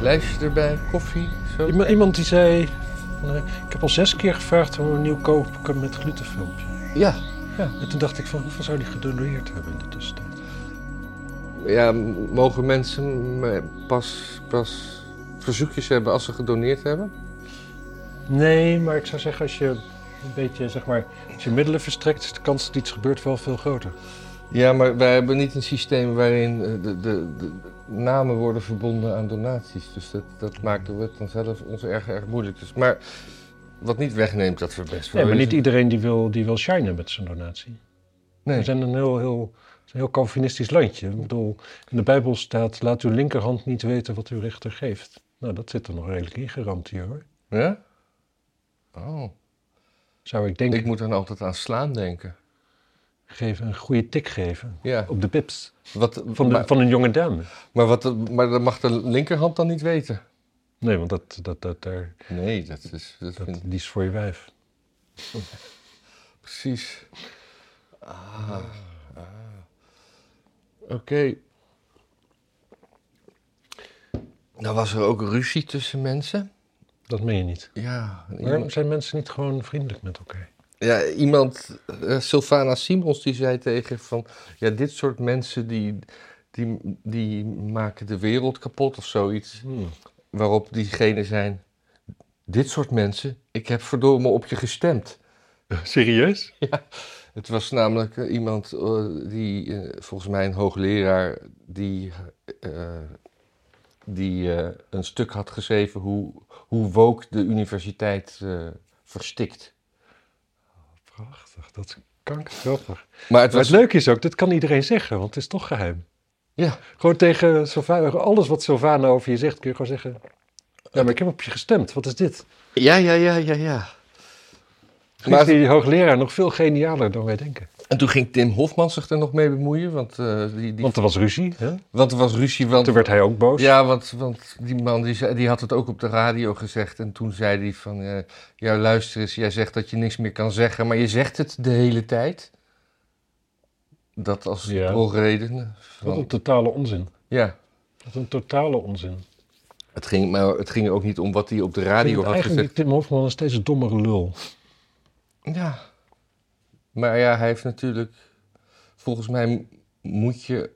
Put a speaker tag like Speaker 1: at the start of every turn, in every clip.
Speaker 1: Lijstje erbij, koffie, zo.
Speaker 2: Iem- Iemand die zei... eh, Ik heb al zes keer gevraagd om een nieuw koken met glutenfilmpje.
Speaker 1: Ja,
Speaker 2: En toen dacht ik van hoeveel zou die gedoneerd hebben in de tussentijd?
Speaker 1: ja, m- mogen mensen me- pas, pas verzoekjes hebben als ze gedoneerd hebben?
Speaker 2: Nee, maar ik zou zeggen als je een beetje, zeg maar, als je middelen verstrekt, is de kans dat iets gebeurt wel veel groter.
Speaker 1: Ja, maar wij hebben niet een systeem waarin eh, de, de, de- de namen worden verbonden aan donaties. Dus dat, dat maakt de wet dan zelf ons erg, erg moeilijk. Dus, maar wat niet wegneemt dat we best wel...
Speaker 2: Nee, maar
Speaker 1: eens-
Speaker 2: niet iedereen die wil, die wil shinen met zijn donatie. We
Speaker 1: Nee.
Speaker 2: zijn een heel, heel, het is een heel Calvinistisch landje. Ik bedoel, in de Bijbel staat, laat uw linkerhand niet weten wat uw rechter geeft. Nou, dat zit er nog redelijk ingeramd hier hoor.
Speaker 1: Ja? Oh.
Speaker 2: Zou ik denken,
Speaker 1: Ik moet dan altijd aan slaan denken.
Speaker 2: geven, een goede tik geven.
Speaker 1: Ja.
Speaker 2: Op de pips
Speaker 1: Wat,
Speaker 2: van, de,
Speaker 1: maar,
Speaker 2: van een jonge dame.
Speaker 1: maar, wat, maar dat mag de linkerhand dan niet weten.
Speaker 2: Nee, want dat, dat, dat, daar,
Speaker 1: Nee, dat is... Dat
Speaker 2: dat,
Speaker 1: vind ik
Speaker 2: die is voor je wijf.
Speaker 1: precies... Ah, ah. Oké. Nou was er ook ruzie tussen mensen.
Speaker 2: Dat meen je niet.
Speaker 1: Ja,
Speaker 2: Waarom
Speaker 1: iemand,
Speaker 2: zijn mensen niet gewoon vriendelijk met elkaar?
Speaker 1: ja, iemand eh, Sylvana Simons, die zei tegen van... Ja, dit soort mensen die, die, die maken de wereld kapot of zoiets. Waarop diegene zijn... Dit soort mensen, ik heb verdomme op je gestemd.
Speaker 2: Serieus?
Speaker 1: Het was namelijk eh, iemand eh, die, eh, volgens mij een hoogleraar, die, eh, die eh, een stuk had geschreven hoe, hoe woke de universiteit eh, verstikt.
Speaker 2: Prachtig, dat is kankergrappig.
Speaker 1: Maar het
Speaker 2: Maar het
Speaker 1: was...
Speaker 2: leuke is ook, dit kan iedereen zeggen, want het is toch geheim.
Speaker 1: Ja,
Speaker 2: Gewoon tegen Sylvana, alles wat Sylvana over je zegt, kun je gewoon zeggen... Ja, maar ik heb op je gestemd, wat is dit?
Speaker 1: ja, ja, ja, ja. ja.
Speaker 2: Maar is
Speaker 1: Maar,
Speaker 2: die hoogleraar nog veel genialer dan wij denken.
Speaker 1: en toen ging Tim Hofman zich er nog mee bemoeien, want, eh, die, die,
Speaker 2: Want er was ruzie, hè?
Speaker 1: want er was ruzie. Want,
Speaker 2: Toen werd hij ook boos.
Speaker 1: Ja, want, want die man die, zei- die had het ook op de radio gezegd. En toen zei hij van, eh, ja luister eens, jij zegt dat je niks meer kan zeggen, maar je zegt het de hele tijd. Dat als
Speaker 2: Ja.
Speaker 1: drogreden.
Speaker 2: Wat
Speaker 1: Van,
Speaker 2: een totale onzin.
Speaker 1: ja,
Speaker 2: Wat een totale onzin.
Speaker 1: het ging, maar het ging ook niet om wat hij op de
Speaker 2: Ik vind
Speaker 1: radio
Speaker 2: het
Speaker 1: had
Speaker 2: eigenlijk
Speaker 1: gezegd.
Speaker 2: die Tim Hofman nog steeds een dommere lul.
Speaker 1: Ja. Maar ja, hij heeft natuurlijk... Volgens mij m- moet je,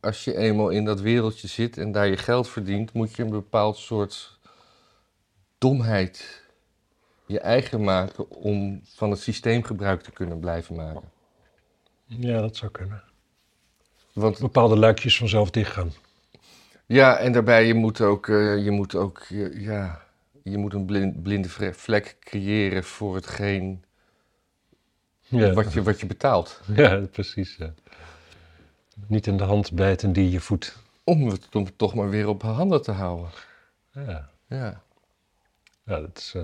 Speaker 1: als je eenmaal in dat wereldje zit en daar je geld verdient... moet je een bepaald soort domheid je eigen maken... om van het systeem gebruik te kunnen blijven maken.
Speaker 2: Ja, dat zou kunnen.
Speaker 1: Want
Speaker 2: Bepaalde luikjes vanzelf dichtgaan.
Speaker 1: ja, en daarbij je moet ook... eh, je moet ook eh, ja, je moet een blin- blinde vre- vlek creëren voor hetgeen
Speaker 2: Ja,
Speaker 1: wat, je, wat je betaalt.
Speaker 2: ja precies. ja. Niet in de hand bijten die je voet.
Speaker 1: Om het toch- toch maar weer op handen te houden.
Speaker 2: Ja,
Speaker 1: Ja,
Speaker 2: ja dat is, eh,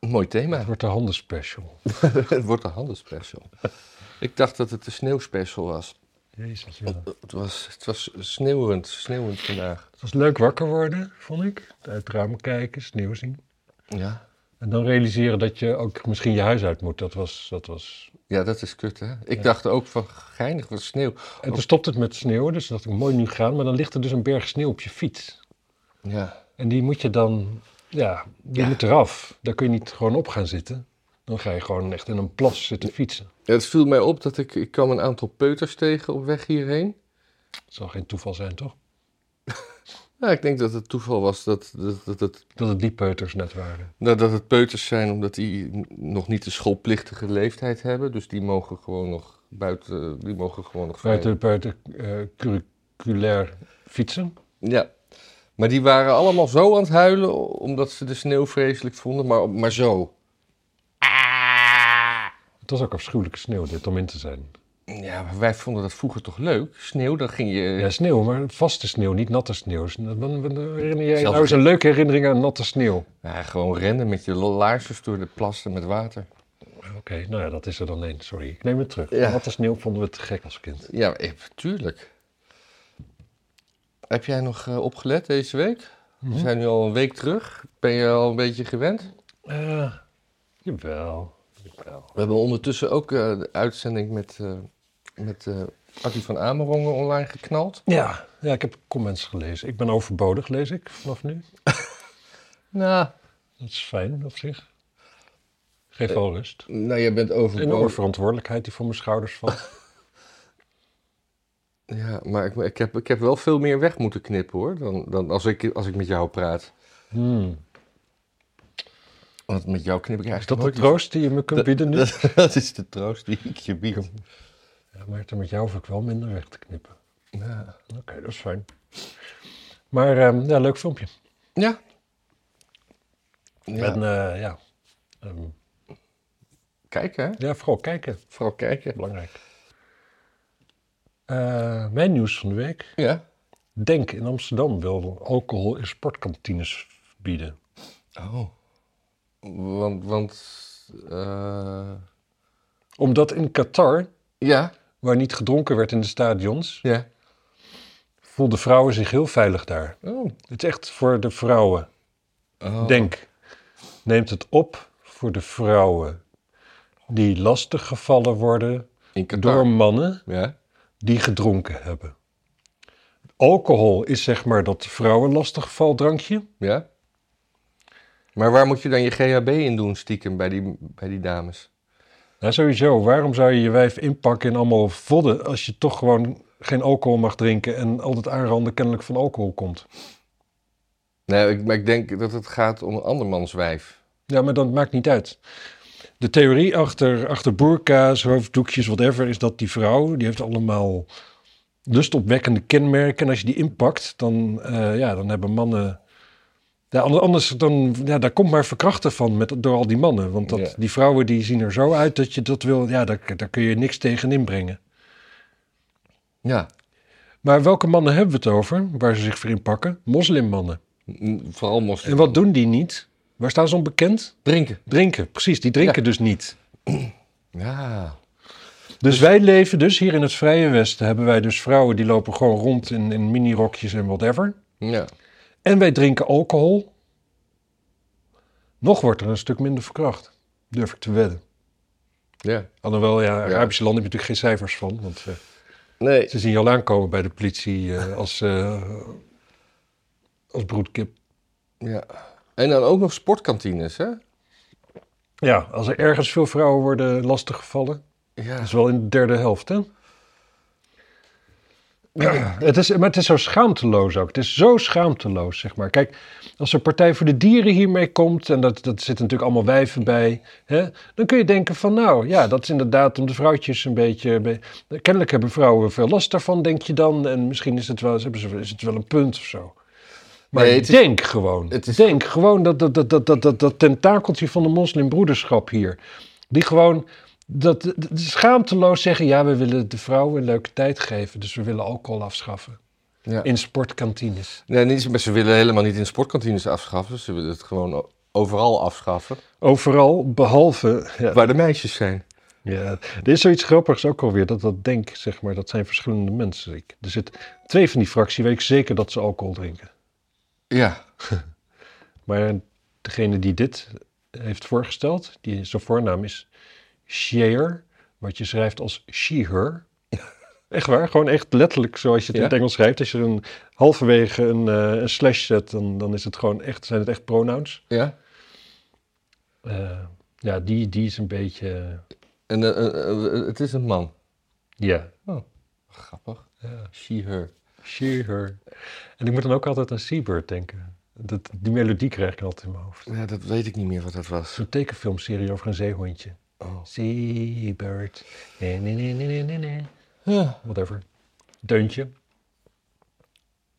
Speaker 1: een mooi thema.
Speaker 2: het wordt de handen special.
Speaker 1: Het wordt een handelspecial. Ik dacht dat het een sneeuwspecial was.
Speaker 2: Jezus, ja.
Speaker 1: Het was, het was sneeuwend, sneeuwend vandaag.
Speaker 2: Het was leuk wakker worden, vond ik. Uit het raam kijken, sneeuw zien.
Speaker 1: Ja.
Speaker 2: En dan realiseren dat je ook misschien je huis uit moet. Dat was, dat was...
Speaker 1: Ja, dat is kut, hè? Ik dacht ook van geinig wat sneeuw.
Speaker 2: En toen stopte het met sneeuw, dus dacht ik, mooi nu gaan. Maar dan ligt er dus een berg sneeuw op je fiets.
Speaker 1: Ja.
Speaker 2: En die moet je dan, ja, die moet eraf. Daar kun je niet gewoon op gaan zitten. Dan ga je gewoon echt in een plas zitten fietsen.
Speaker 1: Het viel mij op dat ik, ik kwam een aantal peuters tegen op weg hierheen.
Speaker 2: Dat zal geen toeval zijn, toch?
Speaker 1: Nou, ik denk dat het toeval was dat, dat, dat, dat,
Speaker 2: Dat het die peuters net waren.
Speaker 1: nou, dat het peuters zijn omdat die n- nog niet de schoolplichtige leeftijd hebben. Dus die mogen gewoon nog buiten, die mogen gewoon nog vrij.
Speaker 2: Buiten, buiten eh, curriculair fietsen.
Speaker 1: Ja. Maar die waren allemaal zo aan het huilen omdat ze de sneeuw vreselijk vonden, maar, maar zo.
Speaker 2: Het was ook afschuwelijke sneeuw dit om in te zijn.
Speaker 1: Ja, maar wij vonden dat vroeger toch leuk? Sneeuw, dan ging je...
Speaker 2: Ja, sneeuw, maar vaste sneeuw, niet natte sneeuw. Dan- dan- dan Herinner jij
Speaker 1: Zelfs-
Speaker 2: nou eens een leuke herinnering aan natte sneeuw?
Speaker 1: Ja, gewoon rennen met je laarsjes door de plassen met water.
Speaker 2: Oké, nou ja, dat is er dan één. Sorry, ik neem het terug.
Speaker 1: Ja.
Speaker 2: Natte sneeuw vonden we te gek als kind.
Speaker 1: Ja, ik- tuurlijk. Heb jij nog eh, opgelet deze week? We zijn nu al een week terug. Ben je al een beetje gewend?
Speaker 2: Eh jawel, jawel.
Speaker 1: We hebben ondertussen ook eh, de uitzending met, eh, met eh, Akkie van Amerongen online geknald.
Speaker 2: Ja, ja, ik heb comments gelezen. Ik ben overbodig, lees ik vanaf nu.
Speaker 1: Nou,
Speaker 2: Dat is fijn op zich. Geeft wel rust.
Speaker 1: nou jij bent
Speaker 2: Eh, Een enorme
Speaker 1: overbodig.
Speaker 2: verantwoordelijkheid die voor mijn schouders valt.
Speaker 1: Ja, maar ik, ik, heb, ik heb wel veel meer weg moeten knippen hoor, dan, dan als, ik, als ik met jou praat.
Speaker 2: Hmm.
Speaker 1: Want met jou knip ik
Speaker 2: Is dat
Speaker 1: eigenlijk
Speaker 2: de troost die je me kunt bieden nu?
Speaker 1: Dat, dat is de troost die ik je bied.
Speaker 2: Ja, maar met jou hoef ik wel minder weg te knippen.
Speaker 1: Ja.
Speaker 2: Oké, dat is fijn. Maar ehm, ja, leuk filmpje.
Speaker 1: Ja.
Speaker 2: En eh, ja. Ehm,
Speaker 1: Kijken, hè?
Speaker 2: ja, vooral kijken.
Speaker 1: Vooral kijken.
Speaker 2: Belangrijk. Eh, mijn nieuws van de week.
Speaker 1: Ja.
Speaker 2: Denk in Amsterdam wil alcohol in sportkantines bieden.
Speaker 1: Oh. Want, want... eh,
Speaker 2: Omdat in Qatar,
Speaker 1: Ja,
Speaker 2: waar niet gedronken werd in de stadions,
Speaker 1: ja.
Speaker 2: voelden vrouwen zich heel veilig daar.
Speaker 1: Oh.
Speaker 2: Het is echt voor de vrouwen.
Speaker 1: Oh.
Speaker 2: Denk, neemt het op voor de vrouwen die lastiggevallen worden
Speaker 1: In Qatar.
Speaker 2: door mannen
Speaker 1: Ja.
Speaker 2: die gedronken hebben. Alcohol is zeg maar dat vrouwen lastiggeval drankje.
Speaker 1: Ja. Maar waar moet je dan je GHB in doen stiekem bij die, bij die dames?
Speaker 2: Nou, sowieso, waarom zou je je wijf inpakken in allemaal vodden als je toch gewoon geen alcohol mag drinken en al dat aanranden kennelijk van alcohol komt?
Speaker 1: Nee, ik, maar ik denk dat het gaat om een andermans wijf.
Speaker 2: Ja, maar dat maakt niet uit. De theorie achter, achter burka's, hoofddoekjes, whatever, is dat die vrouw, die heeft allemaal lustopwekkende kenmerken. En als je die inpakt, dan, eh, ja, dan hebben mannen... Ja, ander- anders dan, ja, daar komt maar verkrachten van met, door al die mannen. Want dat,
Speaker 1: Ja.
Speaker 2: die vrouwen die zien er zo uit dat je dat wil, ja, daar, daar kun je niks tegen inbrengen.
Speaker 1: Ja.
Speaker 2: Maar welke mannen hebben we het over, waar ze zich voor inpakken? Moslimmannen.
Speaker 1: M- Vooral moslims.
Speaker 2: En wat doen die niet? Waar staan ze onbekend?
Speaker 1: Drinken.
Speaker 2: Drinken, precies. Die drinken dus niet.
Speaker 1: Ja.
Speaker 2: Dus wij leven dus hier in het Vrije Westen, hebben wij dus vrouwen die lopen gewoon rond in, in minirokjes en whatever.
Speaker 1: Ja.
Speaker 2: En wij drinken alcohol. Nog wordt er een stuk minder verkracht, durf ik te wedden.
Speaker 1: Ja.
Speaker 2: Alhoewel, ja,
Speaker 1: Ja.
Speaker 2: Arabische landen heb je natuurlijk geen cijfers van, want eh,
Speaker 1: Nee.
Speaker 2: ze zien je al aankomen bij de politie eh, als, eh, als broedkip.
Speaker 1: Ja. En dan ook nog sportkantines, hè?
Speaker 2: Ja, als er ergens veel vrouwen worden lastiggevallen,
Speaker 1: Ja.
Speaker 2: dat is wel in de derde helft, hè? Het is, maar het is zo schaamteloos ook. Het is zo schaamteloos, zeg maar. Kijk, als er Partij voor de Dieren hiermee komt... en dat, dat zitten natuurlijk allemaal wijven bij... Hè, dan kun je denken van, nou, ja, dat is inderdaad om de vrouwtjes een beetje... be- kennelijk hebben vrouwen veel last daarvan, denk je dan. En misschien is het wel, hebben ze, is het wel een punt of zo. Maar
Speaker 1: Nee, het is-
Speaker 2: denk gewoon.
Speaker 1: het is-
Speaker 2: denk gewoon dat dat, dat, dat, dat, dat, dat tentakeltje van de moslimbroederschap hier... die gewoon dat, dat- dat schaamteloos zeggen, ja, we willen de vrouwen een leuke tijd geven, dus we willen alcohol afschaffen.
Speaker 1: Ja.
Speaker 2: In sportkantines.
Speaker 1: Nee, niet, maar ze willen helemaal niet in sportkantines afschaffen. Ze willen het gewoon o- overal afschaffen.
Speaker 2: Overal, behalve... Ja,
Speaker 1: Waar de meisjes zijn.
Speaker 2: ja, er is zoiets grappigs ook alweer, dat dat denk, zeg maar, dat zijn verschillende mensen. Ik- Er zit twee van die fractie, weet ik zeker dat ze alcohol drinken.
Speaker 1: Ja.
Speaker 2: Maar degene die dit heeft voorgesteld, die, zijn voornaam is Sheer, wat je schrijft als she-her. Echt waar, gewoon echt letterlijk zoals je het in
Speaker 1: Ja?
Speaker 2: het Engels schrijft. Als je er een, halverwege een, eh, een slash zet, dan, dan is het gewoon echt, zijn het echt pronouns.
Speaker 1: Ja.
Speaker 2: Eh, ja, die, die is een beetje...
Speaker 1: En eh, eh, eh, het is een man.
Speaker 2: Ja,
Speaker 1: Grappig. She, her.
Speaker 2: she-her. En ik moet dan ook altijd aan Seabird denken. Dat, die melodie krijg ik altijd in mijn hoofd.
Speaker 1: Ja, dat weet ik niet meer wat dat was.
Speaker 2: Zo'n tekenfilmserie over een zeehondje.
Speaker 1: Oh.
Speaker 2: Seabird. Nee, nee, nee, nee, nee, nee.
Speaker 1: Ja.
Speaker 2: whatever. Deuntje.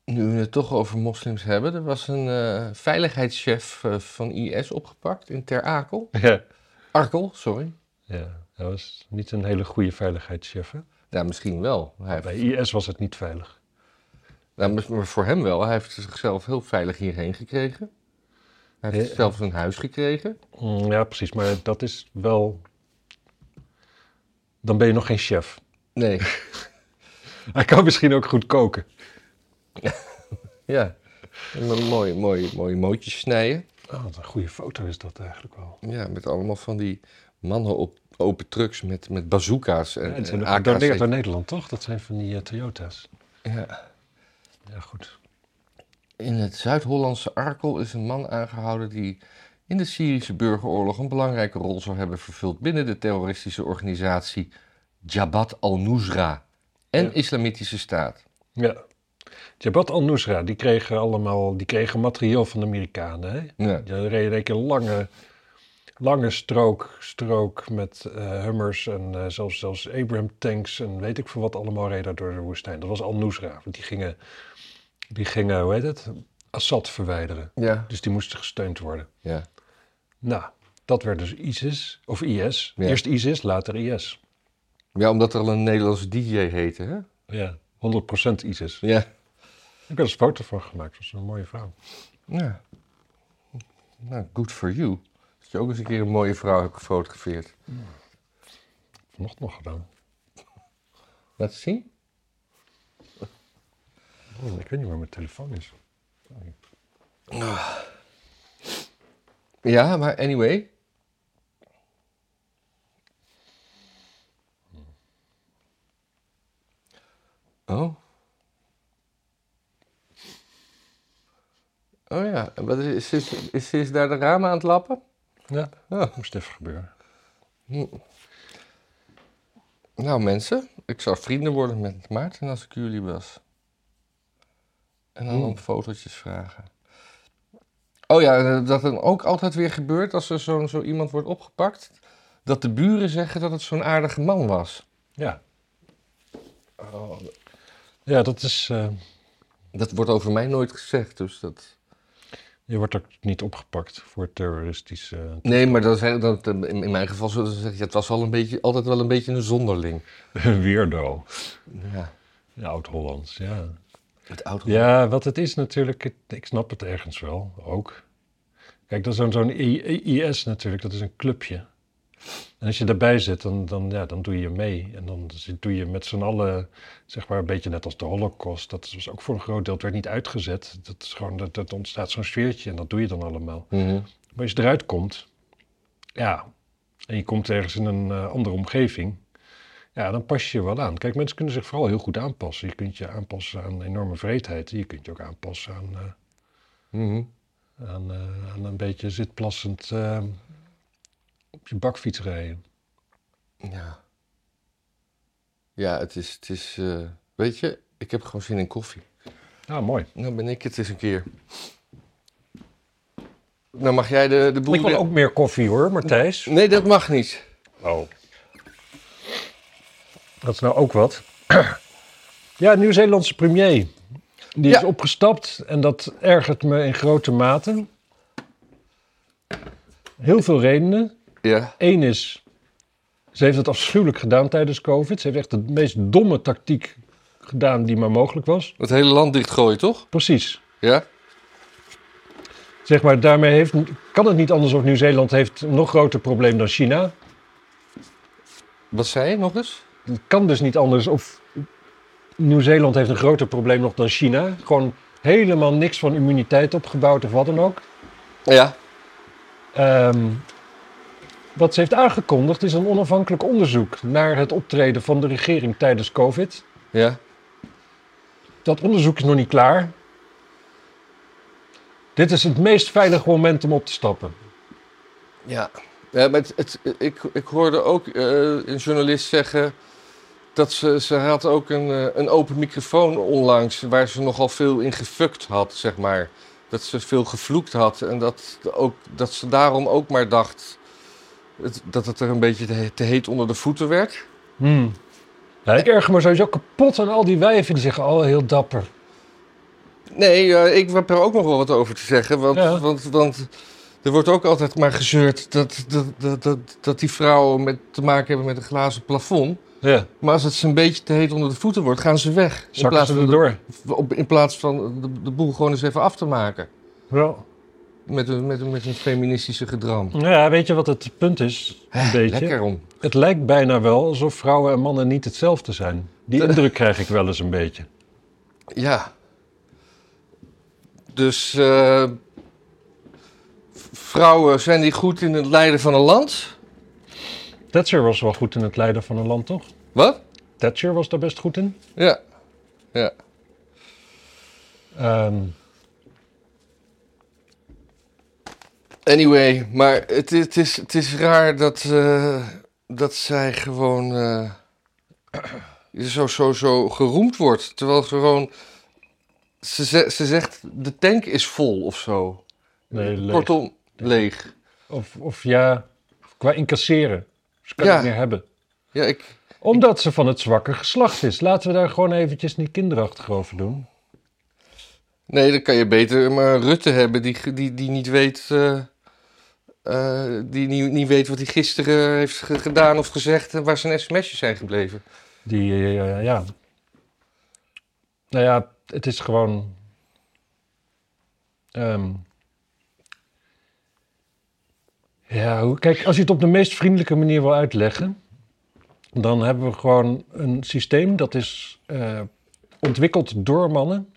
Speaker 1: Nu we het toch over moslims hebben. Er was een eh, veiligheidschef eh, van IS opgepakt in Ter Akel.
Speaker 2: Ja.
Speaker 1: Arkel, sorry.
Speaker 2: ja, dat was niet een hele goede veiligheidschef. Hè?
Speaker 1: Ja, misschien wel. Hij heeft-
Speaker 2: Bij IS was het niet veilig.
Speaker 1: nou, maar- maar voor hem wel. Hij heeft zichzelf heel veilig hierheen gekregen. Hij heeft
Speaker 2: Ja.
Speaker 1: zelfs een huis gekregen.
Speaker 2: Mm, Ja, precies. Maar dat is wel... Dan ben je nog geen chef.
Speaker 1: Nee.
Speaker 2: Hij kan misschien ook goed koken.
Speaker 1: Ja, en dan mooie, mooie, mooie mootjes snijden.
Speaker 2: Oh, wat een goede foto is dat eigenlijk wel.
Speaker 1: Ja, met allemaal van die mannen op open trucks met, met bazooka's en,
Speaker 2: Ja, dat zijn
Speaker 1: en
Speaker 2: ook
Speaker 1: AK's.
Speaker 2: gedoneerd door Nederland, toch? Dat zijn van die eh, Toyota's.
Speaker 1: Ja.
Speaker 2: Ja, goed.
Speaker 1: In het Zuid-Hollandse Arkel is een man aangehouden die in de Syrische burgeroorlog een belangrijke rol zou hebben vervuld binnen de terroristische organisatie Jabhat al-Nusra en
Speaker 2: Ja.
Speaker 1: Islamitische Staat.
Speaker 2: Ja. Jabhat al-Nusra, die kregen allemaal die kregen materieel van de Amerikanen. Hè?
Speaker 1: Ja.
Speaker 2: Ja, er reed een lange, lange strook, strook met eh, Hummers en eh, zelfs, zelfs Abraham-tanks en weet ik veel wat allemaal reed daar door de woestijn. Dat was Al-Nusra, want die gingen, die gingen, hoe heet het, Assad verwijderen.
Speaker 1: Ja.
Speaker 2: Dus die moesten gesteund worden.
Speaker 1: ja.
Speaker 2: Nou, dat werd dus ISIS, of IS.
Speaker 1: Ja.
Speaker 2: Eerst ISIS, later IS.
Speaker 1: Ja, omdat er al een Nederlandse DJ heette, hè?
Speaker 2: Ja. 100% ISIS.
Speaker 1: Ja.
Speaker 2: Ik heb er een foto van gemaakt, dat was een mooie vrouw.
Speaker 1: Ja. Nou, good for you. Dat je ook eens een keer een mooie vrouw hebt gefotografeerd.
Speaker 2: Vanochtend nog gedaan.
Speaker 1: Laat eens zien.
Speaker 2: Oh, ik weet niet waar mijn telefoon is.
Speaker 1: Ja, maar anyway. Oh. Oh ja, en wat is, is, is, is, is daar de ramen aan het lappen?
Speaker 2: Ja,
Speaker 1: Oh.
Speaker 2: moest even gebeuren.
Speaker 1: Nou mensen, ik zou vrienden worden met Maarten als ik jullie was. En dan om fotootjes vragen. Oh ja, en, eh, dat dan ook altijd weer gebeurt als er zo'n zo iemand wordt opgepakt. Dat de buren zeggen dat het zo'n aardige man was.
Speaker 2: Ja. Ja, dat is. eh,
Speaker 1: Dat wordt over mij nooit gezegd, dus dat...
Speaker 2: je wordt ook niet opgepakt voor terroristische.
Speaker 1: Nee, maar dan zeggen, dat, eh, in in mijn geval zullen ze zeggen... ja, het was wel een beetje, altijd wel een beetje een zonderling.
Speaker 2: Weirdo.
Speaker 1: Ja,
Speaker 2: Ja, Oud-Hollands, ja.
Speaker 1: het oud
Speaker 2: Ja, wat het is natuurlijk. het- Ik snap het ergens wel ook. Kijk, dat is zo'n zo'n I- I- IS natuurlijk, dat is een clubje. En als je daarbij zit, dan, dan, ja, dan doe je mee. En dan zit- doe je met z'n allen, zeg maar, een beetje net als de Holocaust. Dat was ook voor een groot deel, het werd niet uitgezet. Dat, is gewoon, dat, dat ontstaat zo'n sfeertje en dat doe je dan allemaal.
Speaker 1: Mhm.
Speaker 2: Maar als je eruit komt, ja, en je komt ergens in een eh, andere omgeving, ja, dan pas je je wel aan. Kijk, mensen kunnen zich vooral heel goed aanpassen. Je kunt je aanpassen aan enorme vreedheid. Je kunt je ook aanpassen aan, eh,
Speaker 1: Mhm.
Speaker 2: aan, eh, aan een beetje zitplassend eh, op je bakfiets rijden.
Speaker 1: Ja. Ja, het is, het is eh, weet je, ik heb gewoon zin in koffie.
Speaker 2: Ja, mooi.
Speaker 1: Nou ben ik het eens een keer. Nou mag jij de, de boel...
Speaker 2: Ik wil ook meer koffie hoor, Martijs.
Speaker 1: Nee, dat mag niet.
Speaker 2: Oh. Dat is nou ook wat. Ja, Nieuw-Zeelandse premier. Die
Speaker 1: Ja.
Speaker 2: is opgestapt en dat ergert me in grote mate. Heel veel redenen.
Speaker 1: Ja.
Speaker 2: Eén is, ze heeft het afschuwelijk gedaan tijdens COVID. Ze heeft echt de meest domme tactiek gedaan die maar mogelijk was.
Speaker 1: Het hele land dichtgooien, toch?
Speaker 2: Precies.
Speaker 1: Ja?
Speaker 2: Zeg maar, daarmee heeft, kan het niet anders of Nieuw-Zeeland heeft een nog groter probleem dan China.
Speaker 1: Wat zei je nog eens?
Speaker 2: Het kan dus niet anders. Of Nieuw-Zeeland heeft een groter probleem nog dan China. Gewoon helemaal niks van immuniteit opgebouwd of wat dan ook.
Speaker 1: Ja.
Speaker 2: Ehm, wat ze heeft aangekondigd is een onafhankelijk onderzoek naar het optreden van de regering tijdens COVID.
Speaker 1: Ja.
Speaker 2: Dat onderzoek is nog niet klaar. Dit is het meest veilige moment om op te stappen.
Speaker 1: Ja. ja maar het, het- ik, ik hoorde ook eh, een journalist zeggen dat ze, ze had ook een, eh, een open microfoon onlangs waar ze nogal veel in gefukt had, zeg maar. Dat ze veel gevloekt had en dat, ook, dat ze daarom ook maar dacht het- dat het er een beetje te, he- te heet onder de voeten werd.
Speaker 2: Hmm. Ja, ik erger me sowieso kapot aan al die wijven die zeggen, oh heel dapper.
Speaker 1: Nee, eh, ik heb er ook nog wel wat over te zeggen, want,
Speaker 2: Ja.
Speaker 1: want, want er wordt ook altijd maar gezeurd dat, dat, dat, dat, dat die vrouwen met, te maken hebben met een glazen plafond.
Speaker 2: Ja,
Speaker 1: Maar als het ze een beetje te heet onder de voeten wordt, gaan ze weg. In
Speaker 2: zakken
Speaker 1: plaats
Speaker 2: ze
Speaker 1: van, de,
Speaker 2: erdoor.
Speaker 1: op- in plaats van de, de boel gewoon eens even af te maken.
Speaker 2: Ja.
Speaker 1: Met hun, met hun, met hun feministische gedram.
Speaker 2: Nou Ja, weet je wat het punt is? Een beetje.
Speaker 1: Eh, Lekker om.
Speaker 2: Het lijkt bijna wel alsof vrouwen en mannen niet hetzelfde zijn. Die indruk krijg ik wel eens een beetje.
Speaker 1: Ja. Dus eh, v- vrouwen, zijn die goed in het leiden van een land?
Speaker 2: Thatcher was wel goed in het leiden van een land, toch?
Speaker 1: Wat?
Speaker 2: Thatcher was daar best goed in.
Speaker 1: Ja. Ja.
Speaker 2: Ehm,
Speaker 1: Anyway, maar het, is- het, is, het is raar dat, eh, dat zij gewoon eh, zo, zo, zo geroemd wordt. Terwijl gewoon. Ze, ze, ze zegt: de tank is vol of zo.
Speaker 2: nee, leeg.
Speaker 1: Kortom, leeg.
Speaker 2: Of, of ja, qua incasseren. Ze kan
Speaker 1: Ja.
Speaker 2: het meer hebben.
Speaker 1: Ja, ik.
Speaker 2: Omdat ze van het zwakke geslacht is. Laten we daar gewoon eventjes niet kinderachtig over doen.
Speaker 1: Nee, dan kan je beter maar een Rutte hebben die, die, die niet weet. eh, eh, die niet, niet weet wat hij gisteren heeft ge- gedaan of gezegd en waar zijn sms'jes zijn gebleven.
Speaker 2: Die, eh, ja. Nou ja, het is gewoon. ehm, ja, hoe- kijk, als je het op de meest vriendelijke manier wil uitleggen, dan hebben we gewoon een systeem dat is eh, ontwikkeld door mannen.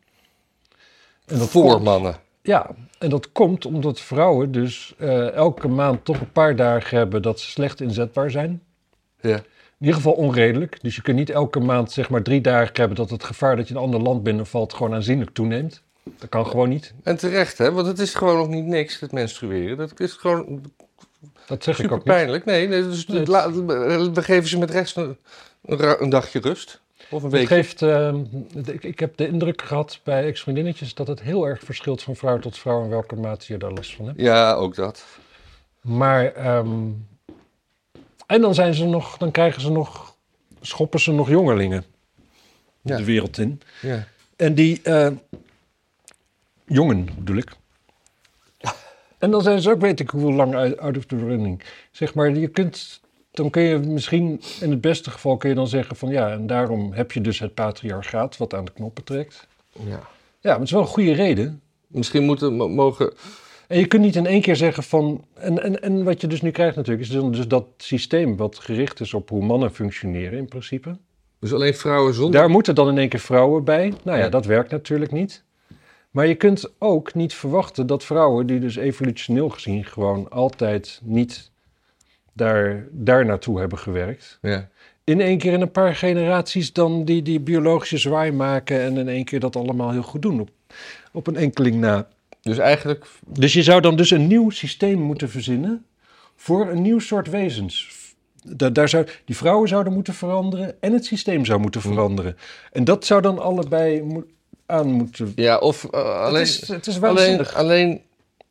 Speaker 2: En dat
Speaker 1: Voor
Speaker 2: komt-
Speaker 1: mannen.
Speaker 2: Ja, en dat komt omdat vrouwen dus eh, elke maand toch een paar dagen hebben dat ze slecht inzetbaar zijn.
Speaker 1: Ja.
Speaker 2: In ieder geval onredelijk. Dus je kunt niet elke maand zeg maar drie dagen hebben dat het gevaar dat je een ander land binnenvalt gewoon aanzienlijk toeneemt. Dat kan gewoon niet.
Speaker 1: En terecht, hè? Want het is gewoon nog niet niks, het menstrueren. Dat is gewoon
Speaker 2: Dat zeg ik
Speaker 1: super
Speaker 2: ook niet.
Speaker 1: pijnlijk. Nee, nee, dus
Speaker 2: Nee, het-
Speaker 1: la- we geven ze met rechts een, een ra- een dagje rust. Of een
Speaker 2: Het
Speaker 1: week.
Speaker 2: geeft, ehm, ik, ik heb de indruk gehad bij ex-vriendinnetjes dat het heel erg verschilt van vrouw tot vrouw en welke mate je daar last van hebt.
Speaker 1: Ja, ook dat.
Speaker 2: Maar, ehm, en dan zijn ze nog, dan krijgen ze nog, schoppen ze nog jongelingen
Speaker 1: Ja.
Speaker 2: de wereld in.
Speaker 1: Ja.
Speaker 2: En die eh, jongen bedoel ik. En dan zijn ze ook, weet ik hoe lang, uit- out of the running. Zeg maar, je kunt, dan kun je misschien, in het beste geval kun je dan zeggen van ja, en daarom heb je dus het patriarchaat wat aan de knoppen trekt.
Speaker 1: ja.
Speaker 2: Ja, maar het is wel een goede reden.
Speaker 1: Misschien moeten, mo- mogen...
Speaker 2: En je kunt niet in één keer zeggen van. En, en, en wat je dus nu krijgt natuurlijk, is dan dus dat systeem wat gericht is op hoe mannen functioneren in principe.
Speaker 1: Dus alleen vrouwen zonder...
Speaker 2: Daar moeten dan in één keer vrouwen bij. Nou ja,
Speaker 1: Ja.
Speaker 2: dat werkt natuurlijk niet. Maar je kunt ook niet verwachten dat vrouwen, die dus evolutioneel gezien gewoon altijd niet daar, daar naartoe hebben gewerkt,
Speaker 1: Ja.
Speaker 2: in één keer in een paar generaties dan die, die biologische zwaai maken en in één keer dat allemaal heel goed doen op, op een enkeling na.
Speaker 1: Dus eigenlijk...
Speaker 2: Dus je zou dan dus een nieuw systeem moeten verzinnen voor een nieuw soort wezens. Da- daar zou, die vrouwen zouden moeten veranderen en het systeem zou
Speaker 1: Mhm.
Speaker 2: moeten veranderen. En dat zou dan allebei mo- aan moeten...
Speaker 1: Ja, of eh, alleen,
Speaker 2: het, is, het is
Speaker 1: alleen,
Speaker 2: waanzinnig.
Speaker 1: alleen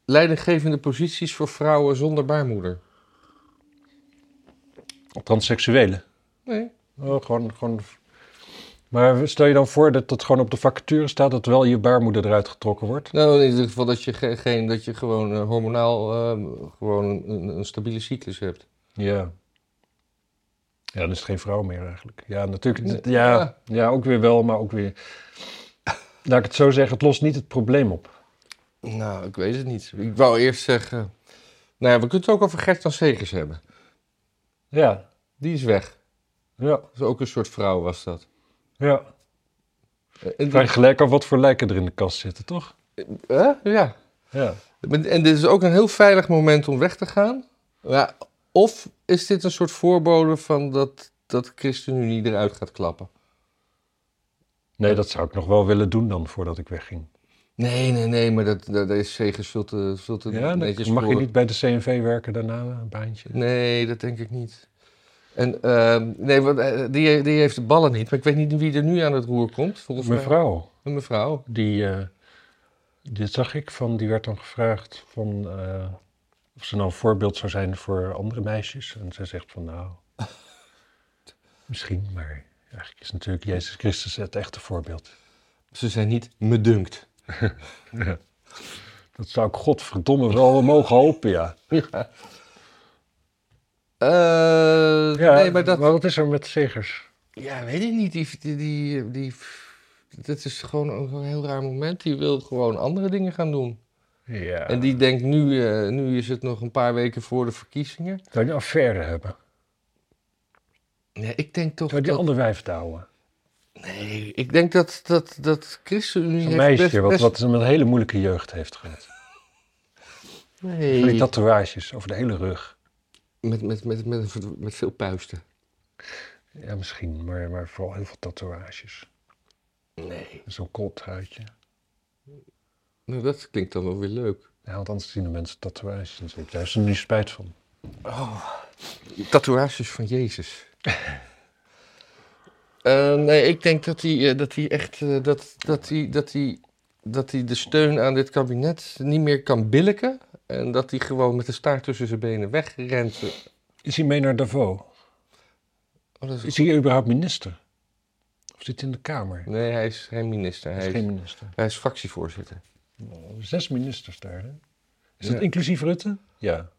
Speaker 1: leidinggevende posities voor vrouwen zonder baarmoeder.
Speaker 2: Transseksuelen.
Speaker 1: Nee.
Speaker 2: Oh, gewoon, gewoon... Maar stel je dan voor dat dat gewoon op de vacature staat... dat wel je baarmoeder eruit getrokken wordt.
Speaker 1: Nou, in ieder geval dat je, ge- geen, dat je gewoon eh, hormonaal eh, gewoon een, een stabiele cyclus hebt.
Speaker 2: Ja. Ja, dan is het geen vrouw meer eigenlijk. Ja, natuurlijk.
Speaker 1: Nee,
Speaker 2: d- Ja,
Speaker 1: ja.
Speaker 2: ja. ook weer wel, maar ook weer... Laat ik het zo zeggen, het lost niet het probleem op.
Speaker 1: Nou, ik weet het niet. Ik wou eerst zeggen... Nou ja, we kunnen het ook over Gert-Jan Segers hebben.
Speaker 2: Ja,
Speaker 1: Die is weg.
Speaker 2: ja,
Speaker 1: Dat is ook een soort vrouw, was dat.
Speaker 2: ja.
Speaker 1: Eh, En,
Speaker 2: Vraag je gelijk af wat voor lijken er in de kast zitten, toch?
Speaker 1: Hè? Ja.
Speaker 2: Ja.
Speaker 1: En en dit is ook een heel veilig moment om weg te gaan. Ja, of is dit een soort voorbode van dat, dat ChristenUnie eruit gaat klappen?
Speaker 2: Nee, dat zou ik nog wel willen doen dan, voordat ik wegging.
Speaker 1: Nee, nee, nee, maar dat, dat, dat is Segers veel te, veel te
Speaker 2: Ja,
Speaker 1: netjes
Speaker 2: dan mag je
Speaker 1: voor.
Speaker 2: niet bij de CNV werken daarna, een baantje.
Speaker 1: Nee, dat denk ik niet. En ehm, nee, want, eh, die, die heeft de ballen niet. Maar ik weet niet wie er nu aan het roer komt. Volgens mij-
Speaker 2: Mevrouw,
Speaker 1: Een mevrouw.
Speaker 2: die... eh, dit zag ik van, die werd dan gevraagd van... eh, of ze nou een voorbeeld zou zijn voor andere meisjes. En zij zegt van, nou... misschien, maar eigenlijk is natuurlijk Jezus Christus het echte voorbeeld.
Speaker 1: Ze zijn niet me dunkt.
Speaker 2: Dat zou ik godverdomme wel mogen hopen, ja.
Speaker 1: Eh,
Speaker 2: ja
Speaker 1: nee, maar dat...
Speaker 2: wat is er met Segers?
Speaker 1: Ja, weet ik niet. Die, die, die, die- dat is gewoon ook een heel raar moment. Die wil gewoon andere dingen gaan doen.
Speaker 2: Ja.
Speaker 1: En die denkt nu, eh, nu is het nog een paar weken voor de verkiezingen.
Speaker 2: Zou die een affaire hebben?
Speaker 1: Nee, ik denk toch
Speaker 2: Zou die
Speaker 1: dat...
Speaker 2: ander wijf touwen?
Speaker 1: Nee, ik denk dat, dat, dat ChristenUnie
Speaker 2: Een
Speaker 1: heeft best-
Speaker 2: meisje wat,
Speaker 1: best-
Speaker 2: wat een hele moeilijke jeugd heeft gehad. Van
Speaker 1: Nee.
Speaker 2: die tatoeages over de hele rug.
Speaker 1: Met, met, met, met, een verd- met veel puisten.
Speaker 2: Ja, misschien, maar, maar vooral heel veel tatoeages.
Speaker 1: Nee.
Speaker 2: En Zo'n kooltruitje.
Speaker 1: Nou, dat klinkt dan wel weer leuk.
Speaker 2: Ja, want anders zien de mensen tatoeages natuurlijk. Daar is er nu spijt van.
Speaker 1: Tatoeages van Jezus. Eh, nee, ik denk dat hij, eh, dat hij echt eh, dat, dat hij, dat hij, dat hij de steun aan dit kabinet niet meer kan billiken. En dat hij gewoon met de staart tussen zijn benen wegrent.
Speaker 2: Is hij mee naar Davos?
Speaker 1: Oh, dat is...
Speaker 2: Is hij überhaupt minister? Of zit hij in de Kamer? Hij
Speaker 1: Nee, hij is geen minister. Hij
Speaker 2: is
Speaker 1: is,
Speaker 2: geen minister. Oh,
Speaker 1: hij is fractievoorzitter.
Speaker 2: Zes ministers daar, hè? Is
Speaker 1: Ja.
Speaker 2: dat inclusief Rutte? Ja.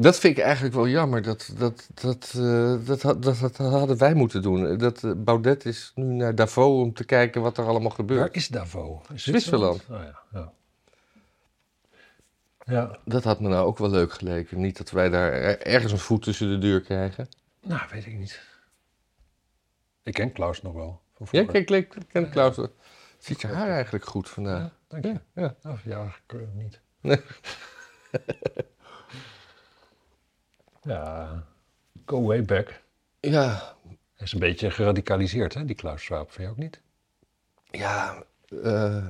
Speaker 1: Dat vind ik eigenlijk wel jammer. Dat, dat, dat, eh, dat, had- dat, dat hadden wij moeten doen. Dat, eh, Baudet is nu naar Davos om te kijken wat er allemaal gebeurt.
Speaker 2: Waar is Davos? Is
Speaker 1: Zwitserland.
Speaker 2: Oh, ja. ja. Ja,
Speaker 1: Dat had me nou ook wel leuk geleken. Niet dat wij daar er- ergens een voet tussen de deur krijgen.
Speaker 2: nou weet ik niet. Ik ken Klaus nog wel. Van
Speaker 1: Ja,
Speaker 2: vroeger.
Speaker 1: kijk, kijk, ik ken Klaus. Ziet je haar eigenlijk goed vandaag?
Speaker 2: Dank je.
Speaker 1: Ja.
Speaker 2: Oh, ja, ik eh, niet.
Speaker 1: Nee.
Speaker 2: ja, go way back.
Speaker 1: Ja,
Speaker 2: Hij is een beetje geradicaliseerd, hè, die Klaus Schwab. Vind je ook niet?
Speaker 1: ja. eh,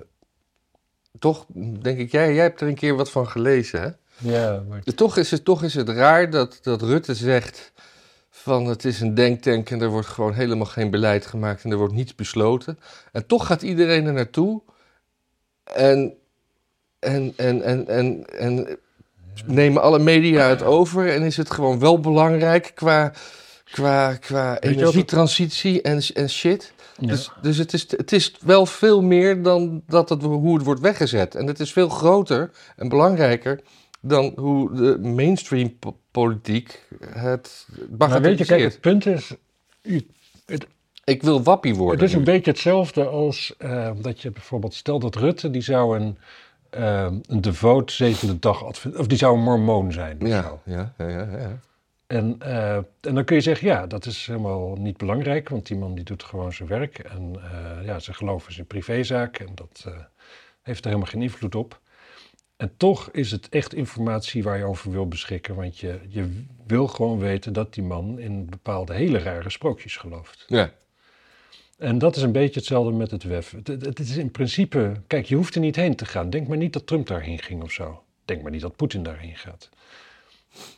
Speaker 1: toch denk ik, jij, jij hebt er een keer wat van gelezen, hè?
Speaker 2: Ja, maar...
Speaker 1: Toch is het, toch is het raar dat, dat Rutte zegt van het is een denktank en er wordt gewoon helemaal geen beleid gemaakt en er wordt niets besloten. En toch gaat iedereen er naartoe en, en, en, en, en, en nemen alle media het over en is het gewoon wel belangrijk qua, qua, qua
Speaker 2: je wat het-
Speaker 1: energietransitie en, en shit. Dus, dus het, is, het is wel veel meer dan dat het, hoe het wordt weggezet. En het is veel groter en belangrijker dan hoe de mainstream po- politiek het
Speaker 2: Maar weet je,
Speaker 1: bagatelliseert.
Speaker 2: kijk, het punt is... u-
Speaker 1: Ik wil wappie
Speaker 2: Het
Speaker 1: worden.
Speaker 2: is een
Speaker 1: nu.
Speaker 2: beetje hetzelfde als eh, dat je bijvoorbeeld... Stel dat Rutte, die zou een, eh een devoot zevende dag... advent- Of die zou een mormoon zijn. of zo.
Speaker 1: ja, ja, ja, ja, ja.
Speaker 2: En, eh, en dan kun je zeggen, ja, dat is helemaal niet belangrijk, want die man die doet gewoon zijn werk. En eh, ja, zijn geloof is een privézaak en dat eh, heeft er helemaal geen invloed op. En toch is het echt informatie waar je over wil beschikken, want je, je wil gewoon weten dat die man in bepaalde hele rare sprookjes gelooft.
Speaker 1: Ja.
Speaker 2: En dat is een beetje hetzelfde met het WEF. Het, het- het is in principe, kijk, je hoeft er niet heen te gaan. Denk maar niet dat Trump daarheen ging of zo. Denk maar niet dat Poetin daarheen gaat.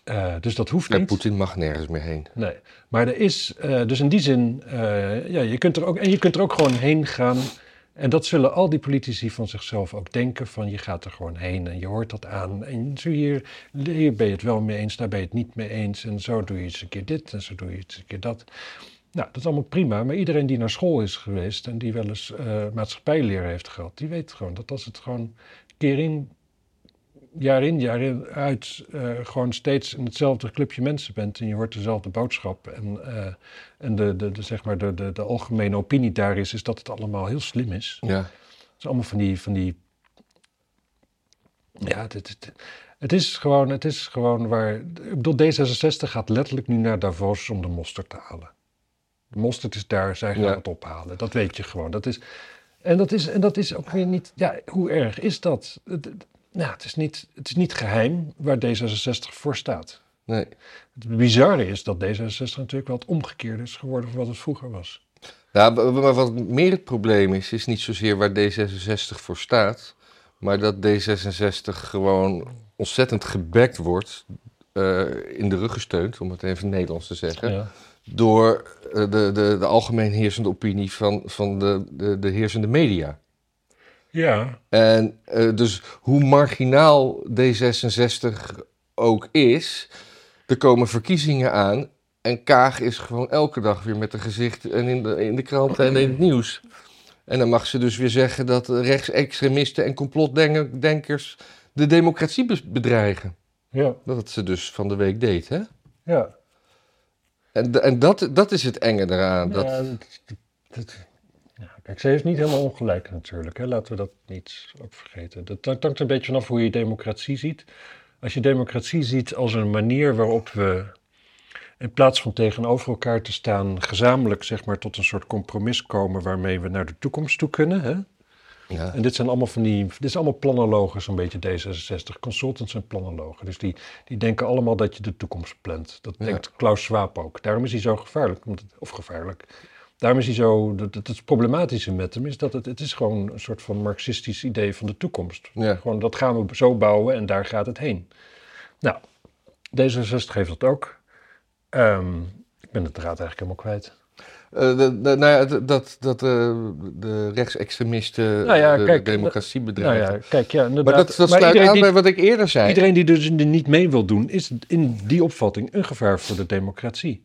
Speaker 2: Eh, dus dat hoeft
Speaker 1: Ja,
Speaker 2: niet.
Speaker 1: Poetin mag nergens meer heen.
Speaker 2: Nee, maar er is, eh, dus in die zin, eh, ja, je kunt er ook, en je kunt er ook gewoon heen gaan. En dat zullen al die politici van zichzelf ook denken: van je gaat er gewoon heen en je hoort dat aan. En zo hier, hier ben je het wel mee eens, daar ben je het niet mee eens. En zo doe je eens een keer dit en zo doe je eens een keer dat. Nou, dat is allemaal prima, maar iedereen die naar school is geweest en die wel eens eh maatschappijleer heeft gehad, die weet gewoon dat als het gewoon keer in, jaar in, jaar in, uit, eh, gewoon steeds in hetzelfde clubje mensen bent en je hoort dezelfde boodschap en, eh, en de, de, de, zeg maar de, de, de algemene opinie daar is, is dat het allemaal heel slim is.
Speaker 1: Ja.
Speaker 2: Het is allemaal van die, van die ja, het, het, het, het is gewoon, het is gewoon waar, ik bedoel, D66 gaat letterlijk nu naar Davos om de mosterd te halen. De mosterd is daar, zij gaan
Speaker 1: Ja.
Speaker 2: het ophalen, dat weet je gewoon. Dat is, en, dat is, en dat is ook weer niet, ja, hoe erg is dat? Het, het- nou, het, is niet, het is niet geheim waar D66 voor staat.
Speaker 1: Nee.
Speaker 2: Het bizarre is dat D66 natuurlijk wel het omgekeerde is geworden van wat het vroeger was.
Speaker 1: Nou, b- b- maar wat meer het probleem is, is niet zozeer waar D66 voor staat, maar dat D66 gewoon ontzettend gebekt wordt, eh, in de rug gesteund, om het even Nederlands te zeggen,
Speaker 2: Ja.
Speaker 1: door eh, de, de, de algemeen heersende opinie van, van de, de, de heersende media.
Speaker 2: ja.
Speaker 1: En eh, dus hoe marginaal D66 ook is, er komen verkiezingen aan. En Kaag is gewoon elke dag weer met haar gezicht en in, de, in de kranten en in het nieuws. En dan mag ze dus weer zeggen dat rechtsextremisten en complotdenkers de democratie bes- bedreigen.
Speaker 2: Ja.
Speaker 1: Dat had ze dus van de week deed, hè?
Speaker 2: Ja.
Speaker 1: En, da- en dat, dat is het enge eraan. Dat,
Speaker 2: Ja, dat- dat- ja, kijk, ze heeft niet helemaal ongelijk natuurlijk. Hè? Laten we dat niet ook vergeten. Dat hangt hangt een beetje vanaf hoe je democratie ziet. Als je democratie ziet als een manier waarop we... in plaats van tegenover elkaar te staan... gezamenlijk zeg maar tot een soort compromis komen... waarmee we naar de toekomst toe kunnen. Hè?
Speaker 1: Ja.
Speaker 2: En dit zijn allemaal van die, dit zijn allemaal planologen, zo'n beetje D66. Consultants en planologen. Dus die, die denken allemaal dat je de toekomst plant. Dat
Speaker 1: Ja.
Speaker 2: denkt Klaus Schwab ook. Daarom is hij zo gevaarlijk, omdat het- of gevaarlijk. Daarom is hij zo, dat, dat het problematische met hem is dat het, het is gewoon een soort van marxistisch idee van de toekomst.
Speaker 1: Ja.
Speaker 2: Gewoon dat gaan we zo bouwen en daar gaat het heen. Nou, D66 heeft dat ook. Ehm, ik ben het draad eigenlijk helemaal kwijt.
Speaker 1: Eh, de- de- nou ja, d- dat, dat eh, de rechtsextremisten
Speaker 2: Nou ja,
Speaker 1: de,
Speaker 2: kijk,
Speaker 1: de democratie bedreigen.
Speaker 2: Nou ja, kijk, ja, inderdaad.
Speaker 1: maar dat, dat sluit
Speaker 2: iedereen
Speaker 1: aan
Speaker 2: die-
Speaker 1: bij wat ik eerder zei.
Speaker 2: Iedereen die dus er niet mee wil doen, is in die opvatting een gevaar voor de democratie.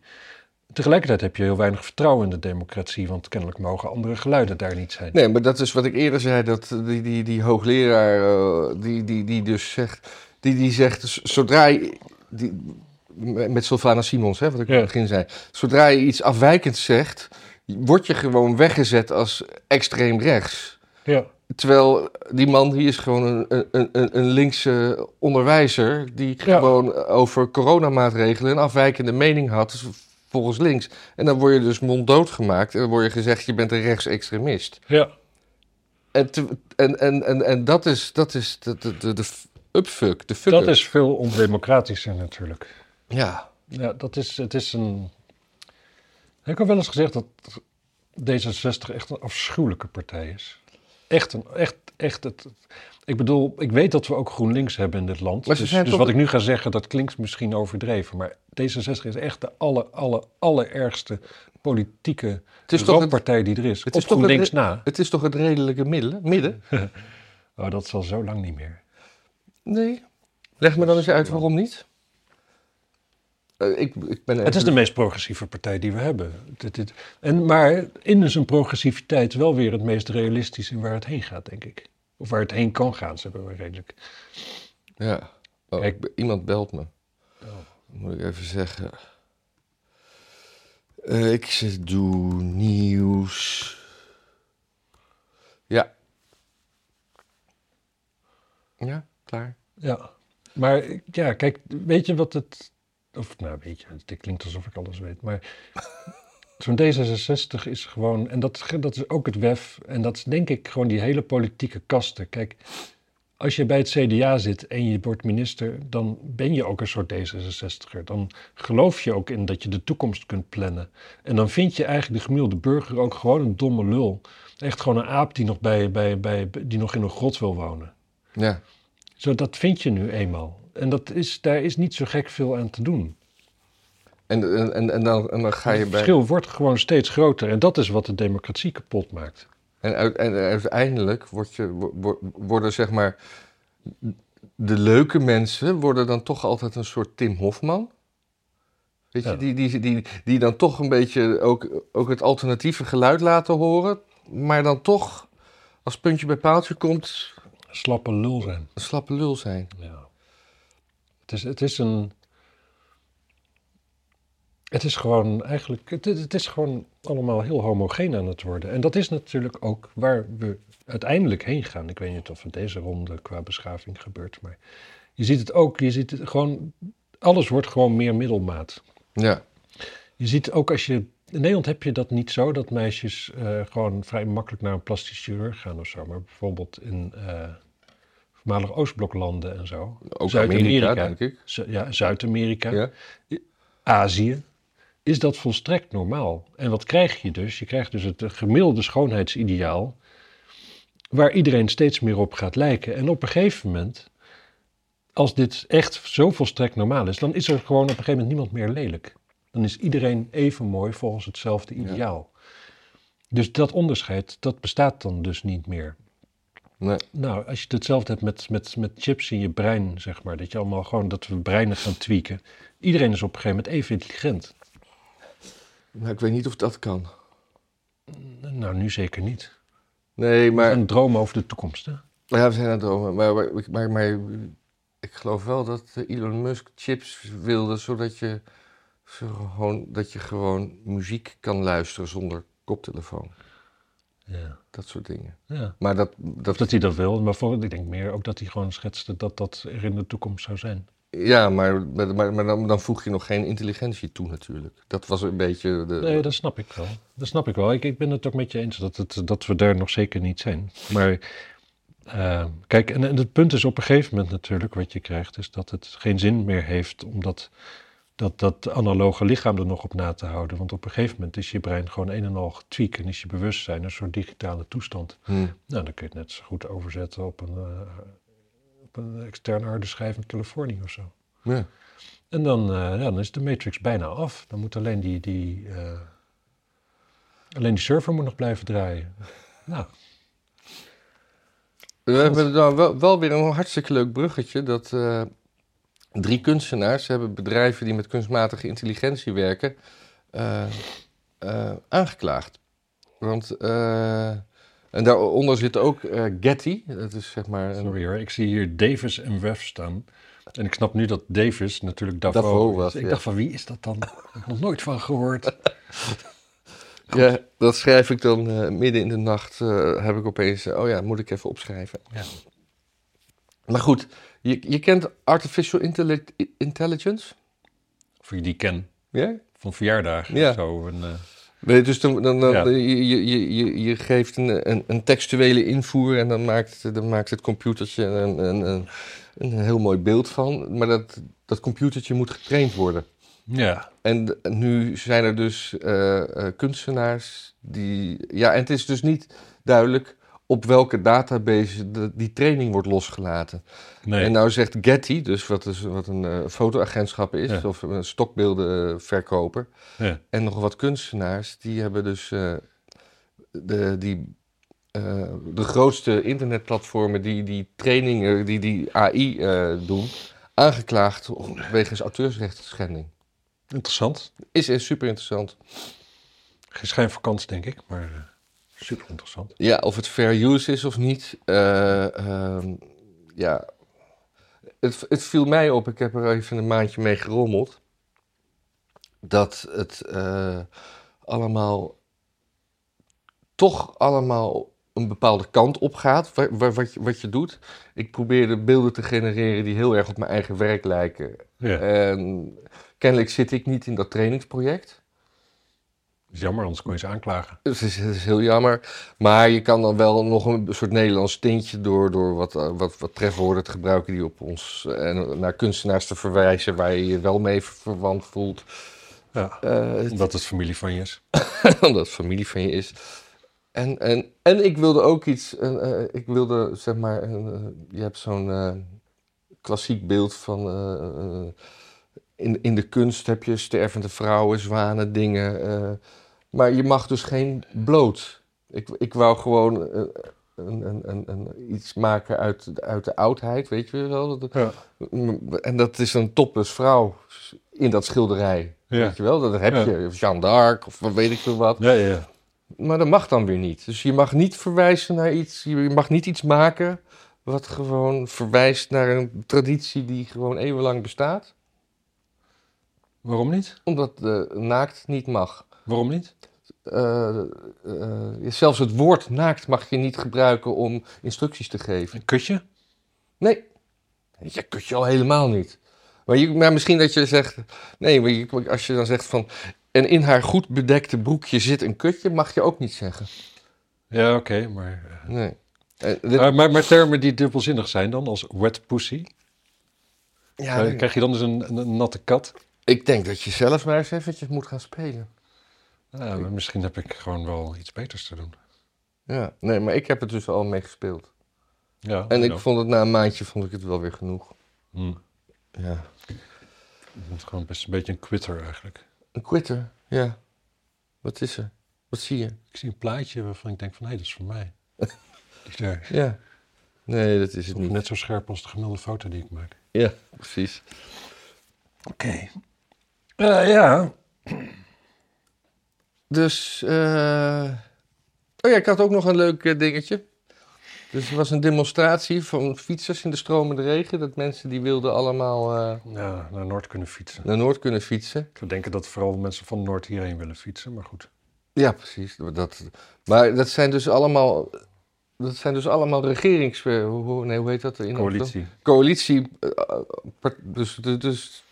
Speaker 2: Tegelijkertijd heb je heel weinig vertrouwen in de democratie, want kennelijk mogen andere geluiden daar niet zijn.
Speaker 1: Nee, maar dat is wat ik eerder zei, dat die, die, die hoogleraar, eh, die, die, die dus zegt, die, die zegt, z- zodra je, die, met Sylvana Simons, hè, wat ik
Speaker 2: Ja.
Speaker 1: in het begin zei, zodra je iets afwijkends zegt, word je gewoon weggezet als extreem rechts.
Speaker 2: Ja.
Speaker 1: Terwijl die man, die is gewoon een, een, een, een linkse onderwijzer, die
Speaker 2: Ja.
Speaker 1: gewoon over coronamaatregelen een afwijkende mening had, dus volgens links. En dan word je dus monddood gemaakt en dan word je gezegd, je bent een rechtsextremist.
Speaker 2: ja.
Speaker 1: En, te- en, en, en, en dat is, dat is de, de, de, de f- upfuck, de fuck
Speaker 2: Dat is veel ondemocratischer natuurlijk.
Speaker 1: Ja,
Speaker 2: Ja, dat is, het is een... Ik heb al wel eens gezegd dat D66 echt een afschuwelijke partij is. Echt een, echt, echt het... Ik bedoel, ik weet dat we ook GroenLinks hebben in dit land.
Speaker 1: Maar ze
Speaker 2: dus
Speaker 1: zijn
Speaker 2: dus
Speaker 1: toch-
Speaker 2: wat ik nu ga zeggen, dat klinkt misschien overdreven. Maar D66 is echt de aller, aller, allerergste politieke
Speaker 1: is toch het-
Speaker 2: partij die er is.
Speaker 1: het
Speaker 2: Het
Speaker 1: is
Speaker 2: is
Speaker 1: toch het-
Speaker 2: GroenLinks na.
Speaker 1: het is toch het redelijke midden? midden?
Speaker 2: Oh, dat zal zo lang niet meer.
Speaker 1: Nee. Leg me dan eens uit waarom niet. Eh, ik, ik ben
Speaker 2: Het is de meest progressieve partij die we hebben. Dit, dit. En, maar in zijn progressiviteit wel weer het meest realistisch in waar het heen gaat, denk ik. Of waar het heen kan gaan, ze hebben we redelijk.
Speaker 1: Ja. Oh,
Speaker 2: Kijk.
Speaker 1: ik- iemand belt me. Oh. Moet ik even zeggen. Eh, ik zit doe nieuws. Ja. Ja, klaar.
Speaker 2: Ja, maar ja, kijk, weet je wat het. Of nou, weet je, het klinkt alsof ik alles weet, maar. Zo'n D66 is gewoon. En dat, dat is ook het WEF. En dat is denk ik gewoon die hele politieke kasten. Kijk, als je bij het CDA zit en je wordt minister, dan ben je ook een soort D66er. Dan geloof je ook in dat je de toekomst kunt plannen. En dan vind je eigenlijk de gemiddelde burger ook gewoon een domme lul. Echt gewoon een aap die nog, bij, bij, bij, die nog in een grot wil wonen.
Speaker 1: Ja.
Speaker 2: Zo, dat vind je nu eenmaal. En dat is, daar is niet zo gek veel aan te doen.
Speaker 1: En, en- en, en, dan, en dan ga je
Speaker 2: Het
Speaker 1: bij.
Speaker 2: verschil wordt gewoon steeds groter. En dat is wat de democratie kapot maakt.
Speaker 1: En, uit- en uiteindelijk word je, wo- wo- worden zeg maar. De leuke mensen worden dan toch altijd een soort Tim Hofman. Weet je,
Speaker 2: Ja.
Speaker 1: die, die, die, die dan toch een beetje ook, ook het alternatieve geluid laten horen. Maar dan toch, als puntje bij paaltje komt,
Speaker 2: Slappe lul zijn.
Speaker 1: een slappe lul zijn.
Speaker 2: Ja. Het, is, het is een... Het is gewoon eigenlijk... Het, het is gewoon allemaal heel homogeen aan het worden. En dat is natuurlijk ook waar we uiteindelijk heen gaan. Ik weet niet of het deze ronde qua beschaving gebeurt. Maar je ziet het ook. Je ziet het gewoon... Alles wordt gewoon meer middelmaat.
Speaker 1: Ja,
Speaker 2: Je ziet ook als je. In Nederland heb je dat niet zo, dat meisjes eh, gewoon vrij makkelijk naar een plastisch chirurg gaan of zo. Maar bijvoorbeeld in eh voormalig Oostbloklanden en zo.
Speaker 1: ook Amerika, denk ik.
Speaker 2: Zu- ja, Zuid-Amerika,
Speaker 1: Ja.
Speaker 2: Azië. Is dat volstrekt normaal? En wat krijg je dus? Je krijgt dus het eh, gemiddelde schoonheidsideaal. Waar iedereen steeds meer op gaat lijken. En op een gegeven moment, als dit echt zo volstrekt normaal is, dan is er gewoon op een gegeven moment niemand meer lelijk. Dan is iedereen even mooi volgens hetzelfde ideaal. Dus dat onderscheid, dat bestaat dan dus niet meer.
Speaker 1: Nee.
Speaker 2: Nou, als je hetzelfde hebt met, met, met chips in je brein, zeg maar. Dat je allemaal gewoon, dat we breinen gaan tweaken. Iedereen is op een gegeven moment even intelligent.
Speaker 1: Nou, ik weet niet of dat kan.
Speaker 2: Nou, nu zeker niet.
Speaker 1: Nee, maar.
Speaker 2: Een droom over de toekomst, hè?
Speaker 1: Ja, we zijn aan het dromen. Maar, maar, maar, maar ik geloof wel dat eh, Elon Musk chips wilde, zodat je, ze gewoon, dat je gewoon muziek kan luisteren zonder koptelefoon.
Speaker 2: Ja.
Speaker 1: Dat soort dingen.
Speaker 2: ja.
Speaker 1: Maar dat,
Speaker 2: Of
Speaker 1: dat
Speaker 2: dat hij dat wil, maar voor, ik denk meer ook dat hij gewoon schetste dat dat er in de toekomst zou zijn.
Speaker 1: Ja, maar, maar, maar dan, dan voeg je nog geen intelligentie toe natuurlijk. Dat was een beetje de...
Speaker 2: Nee, dat snap ik wel. Dat snap ik wel. Ik, ik ben het ook met je eens dat, het, dat we daar nog zeker niet zijn. Maar eh, kijk, en, en het punt is op een gegeven moment natuurlijk wat je krijgt, is dat het geen zin meer heeft om dat, dat, dat analoge lichaam er nog op na te houden. Want op een gegeven moment is je brein gewoon een en al getweak en is je bewustzijn een soort digitale toestand.
Speaker 1: Hm.
Speaker 2: Nou, dan kun je het net zo goed overzetten op een, eh, op een externe harde schijf in Californië of zo.
Speaker 1: Ja.
Speaker 2: En dan, eh, ja, dan is de matrix bijna af. Dan moet alleen die, die, eh, alleen die server moet nog blijven draaien. Nou,
Speaker 1: We hebben dan wel, wel weer een hartstikke leuk bruggetje. Dat eh, drie kunstenaars hebben bedrijven die met kunstmatige intelligentie werken eh, eh, aangeklaagd. Want, eh, en daaronder zit ook eh, Getty. Dat is zeg maar een,
Speaker 2: sorry hoor. Ik zie hier Davis en Wef staan. En ik snap nu dat Davis natuurlijk Davo,
Speaker 1: Davo
Speaker 2: is.
Speaker 1: was,
Speaker 2: Ik
Speaker 1: ja.
Speaker 2: dacht van wie is dat dan? Ik heb nog nooit van gehoord.
Speaker 1: Ja, dat schrijf ik dan eh, midden in de nacht. eh, heb ik opeens. eh, oh ja, moet ik even opschrijven.
Speaker 2: Ja.
Speaker 1: Maar goed, je, je kent artificial intelli- intelligence?
Speaker 2: Of ik die ken
Speaker 1: Ja?
Speaker 2: van verjaardagen
Speaker 1: Ja.
Speaker 2: of zo. En, eh,
Speaker 1: Nee, dus dan, dan, dan-
Speaker 2: Ja.
Speaker 1: je, je- je, je, je geeft een, een, een textuele invoer en dan maakt, dan maakt het computertje een, een, een, een heel mooi beeld van. Maar dat, dat computertje moet getraind worden.
Speaker 2: ja.
Speaker 1: En nu zijn er dus eh, eh, kunstenaars die. Ja, en het is dus niet duidelijk op welke database de- die training wordt losgelaten.
Speaker 2: Nee.
Speaker 1: En nou zegt Getty, dus wat, is, wat een eh, fotoagentschap is,
Speaker 2: Ja.
Speaker 1: of een stokbeeldenverkoper.
Speaker 2: ja.
Speaker 1: En nog wat kunstenaars, die hebben dus eh, de, die, eh, de grootste internetplatformen die die trainingen, die die AI eh, doen, aangeklaagd om- wegens auteursrechtsschending.
Speaker 2: Interessant.
Speaker 1: Is, is super interessant.
Speaker 2: Geen schijn voor kans, denk ik, maar eh, super interessant.
Speaker 1: Ja, of het fair use is of niet. eh, ehm, ja. Het, het viel mij op, ik heb er even een maandje mee gerommeld. Dat het eh, allemaal toch allemaal een bepaalde kant op gaat, wa- wa- wat, je- wat je doet. Ik probeerde beelden te genereren die heel erg op mijn eigen werk lijken.
Speaker 2: Ja.
Speaker 1: En kennelijk zit ik niet in dat trainingsproject.
Speaker 2: Is jammer, anders kon je ze aanklagen.
Speaker 1: Het is, het is heel jammer. Maar je kan dan wel nog een soort Nederlands tintje door, door wat, eh, wat, wat trefwoorden te gebruiken die op ons eh, en naar kunstenaars te verwijzen waar je je wel mee verwant voelt.
Speaker 2: Ja.
Speaker 1: Eh,
Speaker 2: Omdat het familie van je is.
Speaker 1: omdat het familie van je is. En, en, en ik wilde ook iets. een, eh, ik wilde zeg maar. een, eh, je hebt zo'n eh, klassiek beeld van. eh, eh, in, in de kunst heb je stervende vrouwen, zwanen, dingen. eh, maar je mag dus geen bloot. Ik, ik wou gewoon. eh, een, een, een, een- iets maken uit, uit de oudheid, weet je wel. Dat-
Speaker 2: Ja.
Speaker 1: En dat is een topless vrouw in dat schilderij.
Speaker 2: Ja.
Speaker 1: Weet je wel, dat heb
Speaker 2: Ja.
Speaker 1: je. Of Jeanne d'Arc, of wat weet ik veel wat.
Speaker 2: Ja, ja, ja.
Speaker 1: Maar dat mag dan weer niet. Dus je mag niet verwijzen naar iets. Je mag niet iets maken wat gewoon verwijst naar een traditie die gewoon eeuwenlang bestaat.
Speaker 2: Waarom niet?
Speaker 1: Omdat de naakt niet mag.
Speaker 2: Waarom niet?
Speaker 1: Eh, eh, zelfs het woord naakt mag je niet gebruiken om instructies te geven.
Speaker 2: Een kutje?
Speaker 1: Nee, je kunt je al helemaal niet. Maar, je, maar misschien dat je zegt... Nee, maar je- als je dan zegt van... En in haar goed bedekte broekje zit een kutje, mag je ook niet zeggen.
Speaker 2: Ja, oké, maar, eh,
Speaker 1: Nee. Eh, dit-
Speaker 2: eh, maar... Maar termen die dubbelzinnig zijn dan, als wet pussy.
Speaker 1: ja,
Speaker 2: Eh, krijg je dan dus een, een- een natte kat?
Speaker 1: Ik denk dat je zelf maar eens eventjes moet gaan spelen.
Speaker 2: Nou, maar misschien heb ik gewoon wel iets beters te doen.
Speaker 1: Ja, nee, maar ik heb het dus al mee gespeeld.
Speaker 2: Ja,
Speaker 1: En ik
Speaker 2: nou,
Speaker 1: vond het na een maandje vond ik het wel weer genoeg.
Speaker 2: hmm,
Speaker 1: Ja.
Speaker 2: ik ben gewoon best een beetje een quitter eigenlijk.
Speaker 1: Een quitter, ja. Wat is er? Wat zie je?
Speaker 2: Ik zie een plaatje waarvan ik denk van, hé, dat is voor mij. Die daar.
Speaker 1: Ja. Nee, dat is het niet.
Speaker 2: Net zo scherp als de gemiddelde foto die ik maak.
Speaker 1: Ja, precies.
Speaker 2: Oké. Eh, ja.
Speaker 1: Dus, eh, oh ja, ik had ook nog een leuk eh, dingetje. Dus er was een demonstratie van fietsers in de stromende regen. Dat mensen die wilden allemaal eh,
Speaker 2: ja, naar Noord kunnen fietsen.
Speaker 1: naar Noord kunnen fietsen.
Speaker 2: Ik zou denken dat vooral mensen van Noord hierheen willen fietsen, maar goed.
Speaker 1: Ja, precies. Dat, maar dat zijn dus allemaal dat zijn dus allemaal regerings... hoe- hoe- Nee, hoe heet dat? in-
Speaker 2: Coalitie.
Speaker 1: Coalitie. eh, eh, part- Dus, dus, dus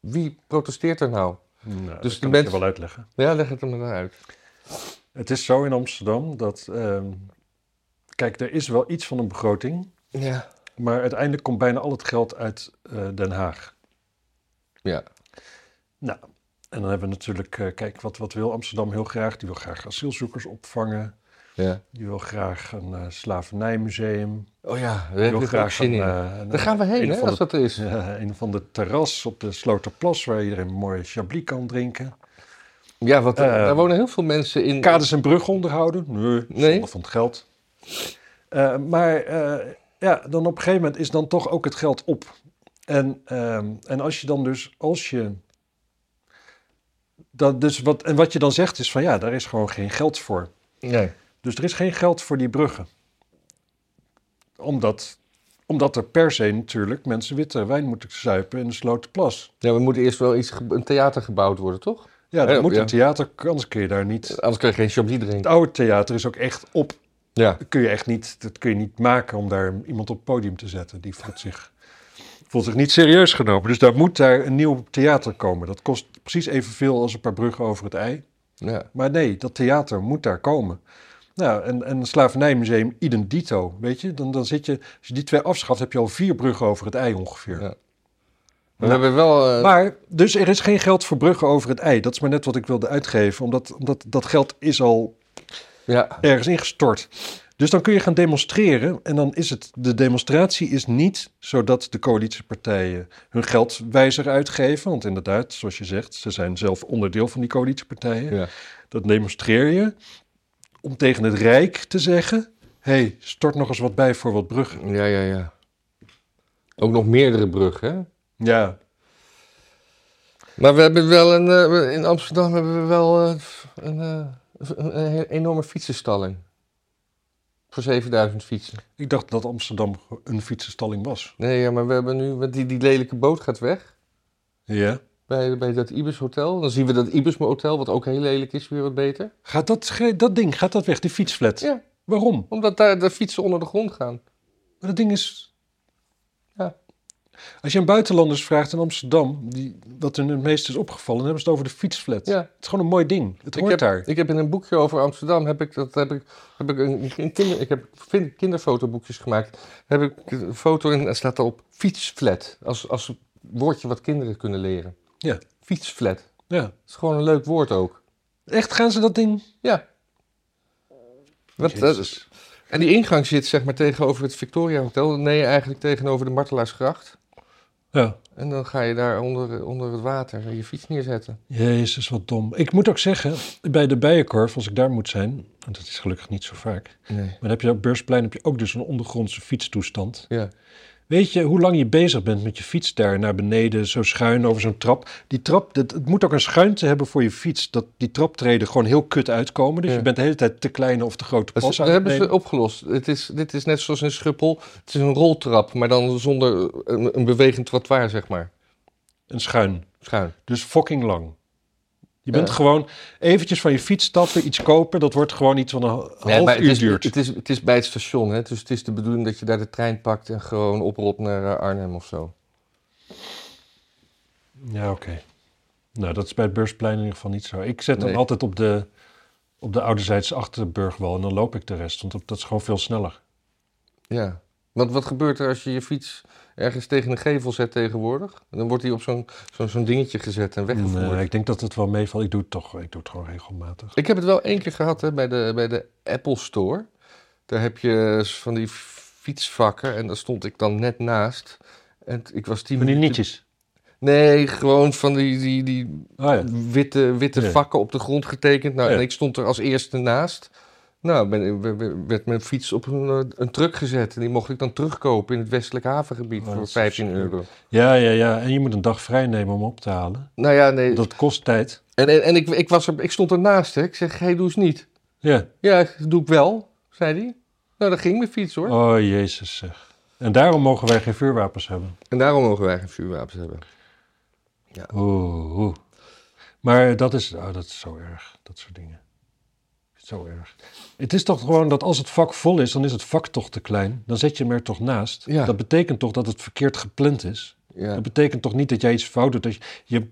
Speaker 1: wie protesteert er nou?
Speaker 2: Nou,
Speaker 1: Dus
Speaker 2: dat
Speaker 1: de
Speaker 2: kan ik je
Speaker 1: mens-
Speaker 2: wel uitleggen.
Speaker 1: Ja, leg het hem dan uit.
Speaker 2: Het is zo in Amsterdam dat... ehm, kijk, er is wel iets van een begroting.
Speaker 1: Ja.
Speaker 2: Maar uiteindelijk komt bijna al het geld uit eh, Den Haag.
Speaker 1: Ja.
Speaker 2: Nou, en dan hebben we natuurlijk... eh, kijk, wat, wat wil Amsterdam heel graag? Die wil graag asielzoekers opvangen.
Speaker 1: ja.
Speaker 2: Die wil graag een eh, slavernijmuseum.
Speaker 1: Oh ja, daar
Speaker 2: Die
Speaker 1: heb
Speaker 2: wil
Speaker 1: ik ook
Speaker 2: graag
Speaker 1: zin in.
Speaker 2: een, eh, een-
Speaker 1: Daar gaan we heen,
Speaker 2: een
Speaker 1: hè,
Speaker 2: van
Speaker 1: als dat er is.
Speaker 2: ja, een van de terras op de Sloterplas... waar iedereen mooi chablis kan drinken.
Speaker 1: Ja, want er-
Speaker 2: Eh,
Speaker 1: daar wonen heel veel mensen in.
Speaker 2: Kades en bruggen onderhouden? Nee,
Speaker 1: Nee.
Speaker 2: zonde van het geld. Eh, maar eh, ja, dan op een gegeven moment is dan toch ook het geld op. En, ehm, en als je dan dus, als je... Dat dus wat, en wat je dan zegt is van ja, daar is gewoon geen geld voor.
Speaker 1: Nee.
Speaker 2: Dus er is geen geld voor die bruggen. Omdat, omdat er per se natuurlijk mensen witte wijn moeten zuipen in de Slotenplas.
Speaker 1: Ja, we moeten eerst wel iets, ge- een theater gebouwd worden, toch?
Speaker 2: Ja, dat
Speaker 1: Ja,
Speaker 2: moet
Speaker 1: ja.
Speaker 2: een theater, anders kun je daar niet...
Speaker 1: Anders kun je geen chablis
Speaker 2: Het
Speaker 1: drinken.
Speaker 2: oude theater is ook echt op
Speaker 1: Ja.
Speaker 2: Dat kun je echt niet, dat kun je niet maken om daar iemand op het podium te zetten. Die voelt zich, voelt zich niet serieus genomen. Dus daar moet daar een nieuw theater komen. Dat kost precies evenveel als een paar bruggen over het ei.
Speaker 1: ja.
Speaker 2: Maar nee, dat theater moet daar komen. Nou, en, en een slavernijmuseum idem dito, weet je? Dan, dan zit je, als je die twee afschaft, heb je al vier bruggen over het ei ongeveer.
Speaker 1: Ja. We hebben wel... eh,
Speaker 2: Maar, dus er is geen geld voor bruggen over het ei. Dat is maar net wat ik wilde uitgeven, omdat, omdat dat geld is al
Speaker 1: ja.
Speaker 2: ergens ingestort. Dus dan kun je gaan demonstreren en dan is het, de demonstratie is niet zodat de coalitiepartijen hun geld wijzer uitgeven. Want inderdaad, zoals je zegt, ze zijn zelf onderdeel van die coalitiepartijen.
Speaker 1: ja.
Speaker 2: Dat demonstreer je om tegen het Rijk te zeggen, hé, hey, stort nog eens wat bij voor wat bruggen.
Speaker 1: Ja, ja, ja. Ook nog meerdere bruggen, hè?
Speaker 2: Ja,
Speaker 1: Maar we hebben wel een, eh, we- in Amsterdam hebben we wel eh, een, eh, een, een he- enorme fietsenstalling. Voor 7000 fietsen.
Speaker 2: ik dacht dat Amsterdam een fietsenstalling was.
Speaker 1: Nee, ja, maar we hebben nu, want die, die lelijke boot gaat weg.
Speaker 2: Ja.
Speaker 1: Bij, bij dat Ibis Hotel. Dan zien we dat Ibis Hotel, wat ook heel lelijk is, weer wat beter.
Speaker 2: Gaat dat, ge- dat ding, gaat dat weg, die fietsflat?
Speaker 1: Ja,
Speaker 2: Waarom?
Speaker 1: omdat daar de fietsen onder de grond gaan.
Speaker 2: Maar dat ding is.
Speaker 1: Ja.
Speaker 2: Als je aan buitenlanders vraagt in Amsterdam, die, wat hun het meest is opgevallen, dan hebben ze het over de fietsflat.
Speaker 1: Ja.
Speaker 2: Het is gewoon een mooi ding. Het
Speaker 1: Ik
Speaker 2: hoort
Speaker 1: heb,
Speaker 2: daar.
Speaker 1: ik heb in een boekje over Amsterdam heb ik, dat heb ik, heb ik, een, een kinder, ik heb vind- kinderfotoboekjes gemaakt. Daar heb ik een foto in en staat erop fietsflat. Als, als woordje wat kinderen kunnen leren.
Speaker 2: Ja.
Speaker 1: Fietsflat. Dat
Speaker 2: Ja.
Speaker 1: is gewoon een leuk woord ook.
Speaker 2: Echt gaan ze dat ding?
Speaker 1: Ja. Wat, eh,
Speaker 2: Jezus.
Speaker 1: en die ingang zit zeg maar tegenover het Victoria Hotel. Nee, eigenlijk tegenover de Martelaarsgracht.
Speaker 2: Ja.
Speaker 1: En dan ga je daar onder, onder het water je fiets neerzetten.
Speaker 2: Jezus, wat dom. Ik moet ook zeggen, bij de Bijenkorf, als ik daar moet zijn, en dat is gelukkig niet zo vaak, maar
Speaker 1: Nee.
Speaker 2: dan heb je op Beursplein heb je ook dus een ondergrondse fietstoestand.
Speaker 1: Ja.
Speaker 2: Weet je hoe lang je bezig bent met je fiets daar naar beneden, zo schuin over zo'n trap? Die trap, dat, het moet ook een schuinte hebben voor je fiets. Dat die traptreden gewoon heel kut uitkomen. Dus
Speaker 1: Ja.
Speaker 2: je bent de hele tijd te kleine of te grote
Speaker 1: Dat, is-
Speaker 2: pas
Speaker 1: dat
Speaker 2: aan het
Speaker 1: hebben ze
Speaker 2: nemen.
Speaker 1: opgelost. Het is, dit is net zoals in Schiphol. Het is een roltrap, maar dan zonder een, een bewegend trottoir, zeg maar.
Speaker 2: Een schuin.
Speaker 1: Schuin.
Speaker 2: Dus fucking lang. Je bent
Speaker 1: Ja.
Speaker 2: gewoon eventjes van je fiets stappen, iets kopen. Dat wordt gewoon iets van een half
Speaker 1: het,
Speaker 2: uur
Speaker 1: is,
Speaker 2: duurt.
Speaker 1: het, is, het is bij het station, hè? dus het is de bedoeling dat je daar de trein pakt en gewoon oprolt naar eh, Arnhem of zo.
Speaker 2: Ja, oké. Nou, dat is bij het beursplein in ieder geval niet zo. Ik zet
Speaker 1: Nee.
Speaker 2: hem altijd op de, op de ouderzijds achterburgwal en dan loop ik de rest. Want dat- dat is gewoon veel sneller.
Speaker 1: Ja. Want wat gebeurt er als je je fiets ergens tegen een gevel zet tegenwoordig? Dan wordt die op zo'n zo'n zo'n dingetje gezet en weggevoerd.
Speaker 2: Nee, eh, ik denk dat het wel meevalt. Ik doe het toch, ik doe het gewoon regelmatig.
Speaker 1: Ik heb het wel één keer gehad hè, bij, de, bij de Apple Store. Daar heb je van die fietsvakken en daar stond ik dan net naast. En t- ik was tien
Speaker 2: Van die
Speaker 1: minuten-
Speaker 2: nietjes.
Speaker 1: Nee, gewoon van die, die, die
Speaker 2: Ah ja.
Speaker 1: witte, witte
Speaker 2: Ja.
Speaker 1: vakken op de grond getekend. Nou,
Speaker 2: Ja.
Speaker 1: En ik stond er als eerste naast. Nou, ben, ben- ben- werd mijn fiets op een, eh, een truck gezet. En die mocht ik dan terugkopen in het westelijk havengebied
Speaker 2: Oh, dat
Speaker 1: voor
Speaker 2: is
Speaker 1: 15
Speaker 2: verschrikkelijk.
Speaker 1: euro.
Speaker 2: ja, ja, ja. En je moet een dag vrij nemen om op te halen.
Speaker 1: Nou ja, nee.
Speaker 2: Dat kost tijd.
Speaker 1: En, en, en ik, ik, was er, ik stond ernaast. Hè. Ik zeg, hey, doe eens niet.
Speaker 2: Ja.
Speaker 1: Ja, doe ik wel, zei hij. Nou, dat ging mijn fiets hoor.
Speaker 2: Oh, jezus zeg. En daarom mogen wij geen vuurwapens hebben.
Speaker 1: En daarom mogen wij geen vuurwapens hebben.
Speaker 2: Oeh, oeh. Maar dat is, oh, dat is zo erg, dat soort dingen. Het Zo erg. Het is toch gewoon dat als het vak vol is, dan is het vak toch te klein. Dan zet je hem er toch naast.
Speaker 1: Ja.
Speaker 2: Dat betekent toch dat het verkeerd gepland is.
Speaker 1: Ja.
Speaker 2: Dat betekent toch niet dat jij iets fout doet. Dat je, je,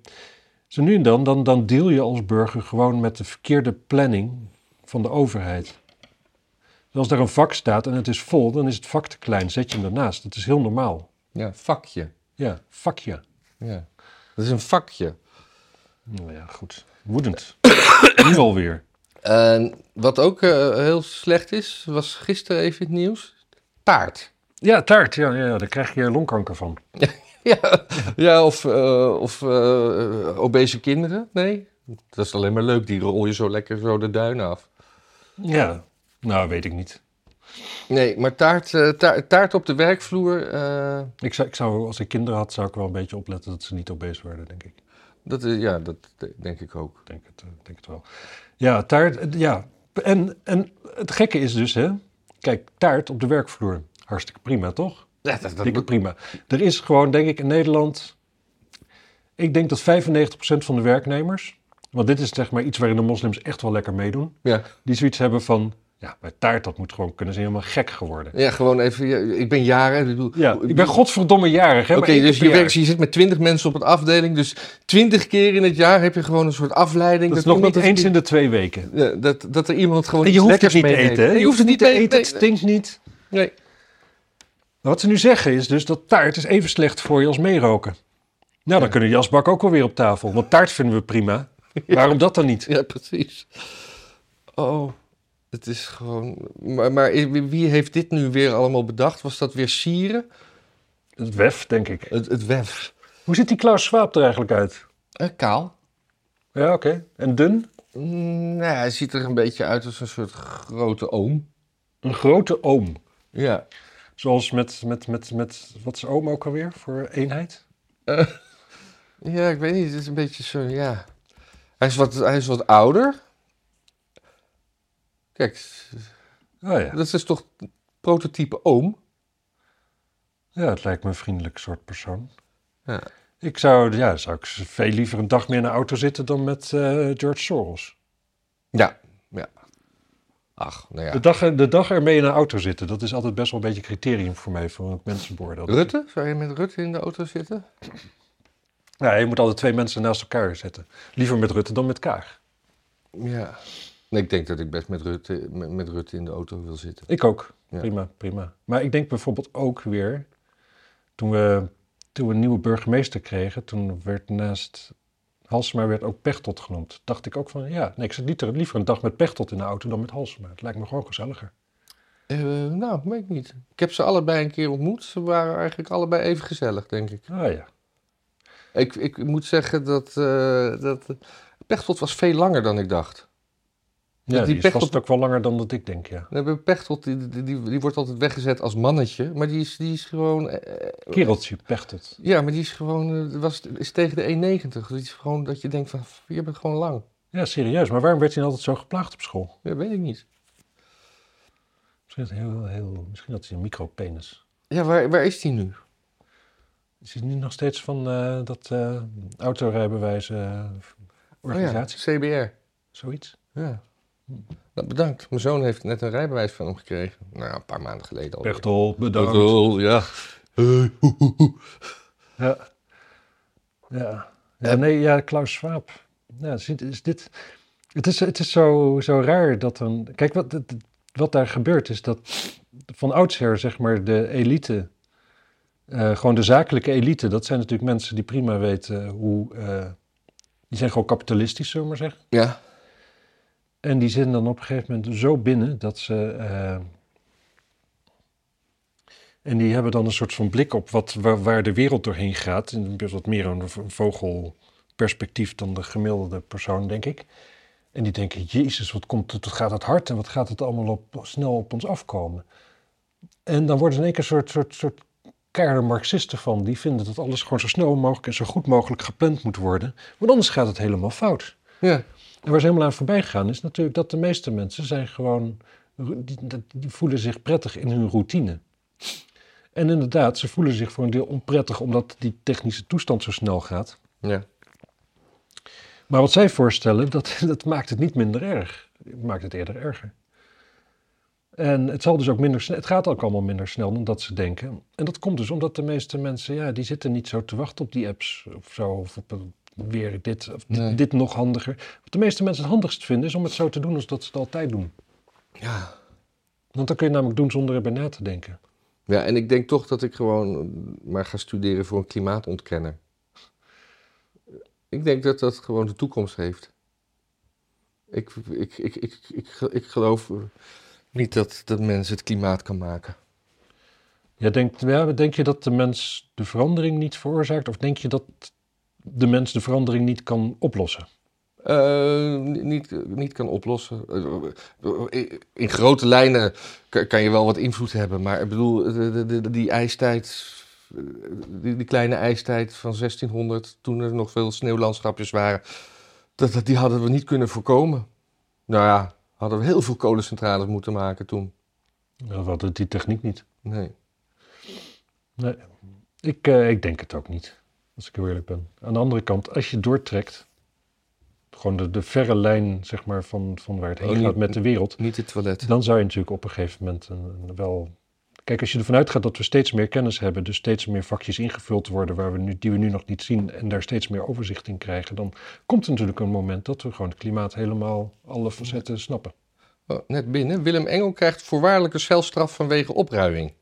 Speaker 2: zo nu en dan, dan, dan deel je als burger gewoon met de verkeerde planning van de overheid. Dus als daar een vak staat en het is vol, dan is het vak te klein. Zet je hem ernaast. Dat is heel normaal.
Speaker 1: ja, vakje.
Speaker 2: Ja, vakje.
Speaker 1: Ja. Dat is een vakje.
Speaker 2: Nou ja, goed. Woedend. nu alweer.
Speaker 1: En wat ook eh, heel slecht is, was gisteren even in het nieuws. Taart.
Speaker 2: Ja, taart. Ja, ja, ja, daar krijg je longkanker van.
Speaker 1: Ja, ja of, eh, of eh, obese kinderen. Nee, dat is alleen maar leuk. Die rol je zo lekker zo de duin af.
Speaker 2: Ja. Nou, weet ik niet.
Speaker 1: Nee, maar taart, eh, taart, taart op de werkvloer, eh,
Speaker 2: Ik zou, ik zou, als ik kinderen had, zou ik wel een beetje opletten dat ze niet obese werden, denk ik.
Speaker 1: dat, is, ja, dat eh, denk ik ook.
Speaker 2: Ik denk het, eh, ik denk het wel. Ja, taart. eh, Ja. En, en het gekke is dus, hè. Kijk, taart op de werkvloer. Hartstikke prima, toch?
Speaker 1: Ja, dat, dat-
Speaker 2: Dikke prima. Er is gewoon, denk ik, in Nederland... Ik denk dat 95% van de werknemers... Want dit is zeg maar iets waarin de moslims echt wel lekker meedoen.
Speaker 1: ja.
Speaker 2: Die zoiets hebben van... Ja, bij taart, dat moet gewoon kunnen. Ze zijn helemaal gek geworden.
Speaker 1: ja, gewoon even. ja, ik ben jaren. Ik, bedoel,
Speaker 2: Ja, ik ben godverdomme jarig, hè.
Speaker 1: Oh, Oké,
Speaker 2: maar één
Speaker 1: dus
Speaker 2: keer
Speaker 1: je,
Speaker 2: per
Speaker 1: werkt,
Speaker 2: jaar.
Speaker 1: je zit met twintig mensen op een afdeling. Dus twintig keer in het jaar heb je gewoon een soort afleiding.
Speaker 2: Dat is nog niet
Speaker 1: iemand
Speaker 2: eens
Speaker 1: het-
Speaker 2: in de twee weken.
Speaker 1: Ja, dat, dat er iemand gewoon
Speaker 2: En je
Speaker 1: iets
Speaker 2: hoeft het
Speaker 1: lekkers
Speaker 2: niet
Speaker 1: dus
Speaker 2: te
Speaker 1: mee
Speaker 2: eten, hè.
Speaker 1: neemt. Je hoeft het niet te eten.
Speaker 2: Het stinkt niet.
Speaker 1: nee, nee.
Speaker 2: Nou, Wat ze nu zeggen is dus dat taart is even slecht voor je als meeroken. Nou, dan kunnen jasbak ook alweer op tafel. Want taart vinden we prima. Waarom dat dan niet?
Speaker 1: Ja, precies. Oh, het is gewoon. Maar, maar wie heeft dit nu weer allemaal bedacht? Was dat weer Sieren?
Speaker 2: Het WEF, denk ik.
Speaker 1: Het, het WEF.
Speaker 2: Hoe ziet die Klaus Schwab er eigenlijk uit?
Speaker 1: Eh, kaal.
Speaker 2: Ja, oké. En dun?
Speaker 1: Mm, nou, hij ziet er een beetje uit als een soort grote oom.
Speaker 2: Een grote oom.
Speaker 1: Ja.
Speaker 2: Zoals met, met, met, met wat is oom ook alweer voor eenheid?
Speaker 1: Ja, ik weet niet. Het is een beetje zo, ja. Hij is wat, hij is wat ouder. Kijk, s-
Speaker 2: Oh ja.
Speaker 1: dat is toch prototype oom?
Speaker 2: Ja, het lijkt me een vriendelijk soort persoon.
Speaker 1: Ja.
Speaker 2: Ik zou, ja, zou ik veel liever een dag meer in de auto zitten dan met eh, George Soros.
Speaker 1: Ja, ja. Ach, nou ja.
Speaker 2: De, dag, de dag ermee in een auto zitten, dat is altijd best wel een beetje criterium voor mij, voor het mensenboordeel.
Speaker 1: Rutte? Zou je met Rutte in de auto zitten?
Speaker 2: Ja, je moet altijd twee mensen naast elkaar zetten. Liever met Rutte dan met Kaag.
Speaker 1: Ja. Nee, ik denk dat ik best met Rutte, met, met Rutte in de auto wil zitten.
Speaker 2: Ik ook.
Speaker 1: Ja.
Speaker 2: Prima, prima. Maar ik denk bijvoorbeeld ook weer, toen we, toen we een nieuwe burgemeester kregen, toen werd naast Halsema werd ook Pechtold genoemd. Dacht ik ook van, ja, nee, ik zit liever, liever een dag met Pechtold in de auto dan met Halsema. Het lijkt me gewoon gezelliger.
Speaker 1: Eh, nou, weet ik niet. Ik heb ze allebei een keer ontmoet. Ze waren eigenlijk allebei even gezellig, denk ik.
Speaker 2: Ah ja.
Speaker 1: Ik, ik moet zeggen dat, eh dat Pechtold was veel langer dan ik dacht.
Speaker 2: Ja,
Speaker 1: die
Speaker 2: die is
Speaker 1: Pechtold-
Speaker 2: vast ook wel langer dan dat ik denk, ja.
Speaker 1: Nee, bij Pechtold, die, die, die, die wordt altijd weggezet als mannetje. Maar die is, die is gewoon... eh,
Speaker 2: Kereltje Pechtold.
Speaker 1: ja, maar die is gewoon... eh, was, is tegen de 1,90. Dus die is gewoon dat je denkt van... "F- Je bent gewoon lang.
Speaker 2: Ja, serieus. Maar waarom werd hij altijd zo geplaagd op school?
Speaker 1: Ja, weet ik niet.
Speaker 2: Misschien, had hij heel, heel, misschien had hij een micropenis.
Speaker 1: Ja, waar, waar is die nu? Oh
Speaker 2: Is het nu nog steeds van eh, dat eh autorijbewijs eh, organisatie?
Speaker 1: Oh ja, CBR.
Speaker 2: Zoiets?
Speaker 1: Ja. Nou, bedankt. Mijn zoon heeft net een rijbewijs van hem gekregen. Nou, een paar maanden geleden al.
Speaker 2: Pechtel, bedankt.
Speaker 1: Pechtold, ja.
Speaker 2: Ja. Ja. ja. Nee, ja, Klaus Schwab. Ja, is dit- is dit, het is, het is zo, zo raar dat dan... Kijk, wat, het- wat daar gebeurt is dat van oudsher, zeg maar, de elite... eh, gewoon de zakelijke elite, dat zijn natuurlijk mensen die prima weten hoe... eh, die zijn gewoon kapitalistisch, zullen we maar zeggen.
Speaker 1: Ja.
Speaker 2: En die zitten dan op een gegeven moment zo binnen dat ze. eh, en die hebben dan een soort van blik op wat, waar, waar de wereld doorheen gaat. En best wat meer een v- vogelperspectief dan de gemiddelde persoon, denk ik. En die denken: Jezus, wat, komt, het- wat gaat het hard en wat gaat het allemaal op, snel op ons afkomen? En dan worden ze in één keer een soort, soort, soort keiharde Marxisten van. Die vinden dat alles gewoon zo snel mogelijk en zo goed mogelijk gepland moet worden. Want anders gaat het helemaal fout.
Speaker 1: Ja.
Speaker 2: En waar ze helemaal aan voorbij gaan is natuurlijk dat de meeste mensen zijn gewoon, die, dat- die voelen zich prettig in hun routine. En inderdaad, ze voelen zich voor een deel onprettig omdat die technische toestand zo snel gaat.
Speaker 1: Ja.
Speaker 2: Maar wat zij voorstellen, dat, dat maakt het niet minder erg. Het maakt het eerder erger. En het, zal dus ook minder, sne- het gaat ook allemaal minder snel dan dat ze denken. En dat komt dus omdat de meeste mensen, ja, die zitten niet zo te wachten op die apps of zo. Of op een- weer dit, of dit,
Speaker 1: Nee.
Speaker 2: dit nog handiger. Wat de meeste mensen het handigst vinden is om het zo te doen als dat ze het altijd doen.
Speaker 1: Ja.
Speaker 2: Want dan kun je het namelijk doen zonder erbij na te denken.
Speaker 1: Ja, en ik denk toch dat ik gewoon eh, maar ga studeren voor een klimaatontkenner. Ik denk dat dat gewoon de toekomst heeft. Ik, ik, ik, ik, ik, ge- ik geloof eh, niet dat, dat mensen het klimaat kan maken.
Speaker 2: Ja, denkt, ja, denk je dat de mens de verandering niet veroorzaakt? Of denk je dat de mens de verandering niet kan oplossen?
Speaker 1: Eh, ni- niet, niet kan oplossen. Eh, eh, In grote lijnen ka- kan je wel wat invloed hebben, maar ik bedoel, de, de- de- die ijstijd, eh, die, die kleine ijstijd van 1600, toen er nog veel sneeuwlandschapjes waren, dat, dat- die hadden we niet kunnen voorkomen. Nou ja, hadden we heel veel kolencentrales moeten maken toen.
Speaker 2: Ja, Nou, we hadden die techniek niet.
Speaker 1: Nee.
Speaker 2: Nee, ik, eh, ik denk het ook niet, als ik heel eerlijk ben. Aan de andere kant, als je doortrekt, gewoon de, de verre lijn zeg maar, van, van waar het heen
Speaker 1: Oh, niet-
Speaker 2: gaat met de wereld,
Speaker 1: Niet het toilet.
Speaker 2: dan zou je natuurlijk op een gegeven moment een- een wel... Kijk, als je ervan uitgaat dat we steeds meer kennis hebben, dus steeds meer vakjes ingevuld worden waar we nu, die we nu nog niet zien en daar steeds meer overzicht in krijgen, dan komt er natuurlijk een moment dat we gewoon het klimaat helemaal alle facetten snappen.
Speaker 1: Oh, net binnen. Willem Engel krijgt voorwaardelijke celstraf vanwege opruiing.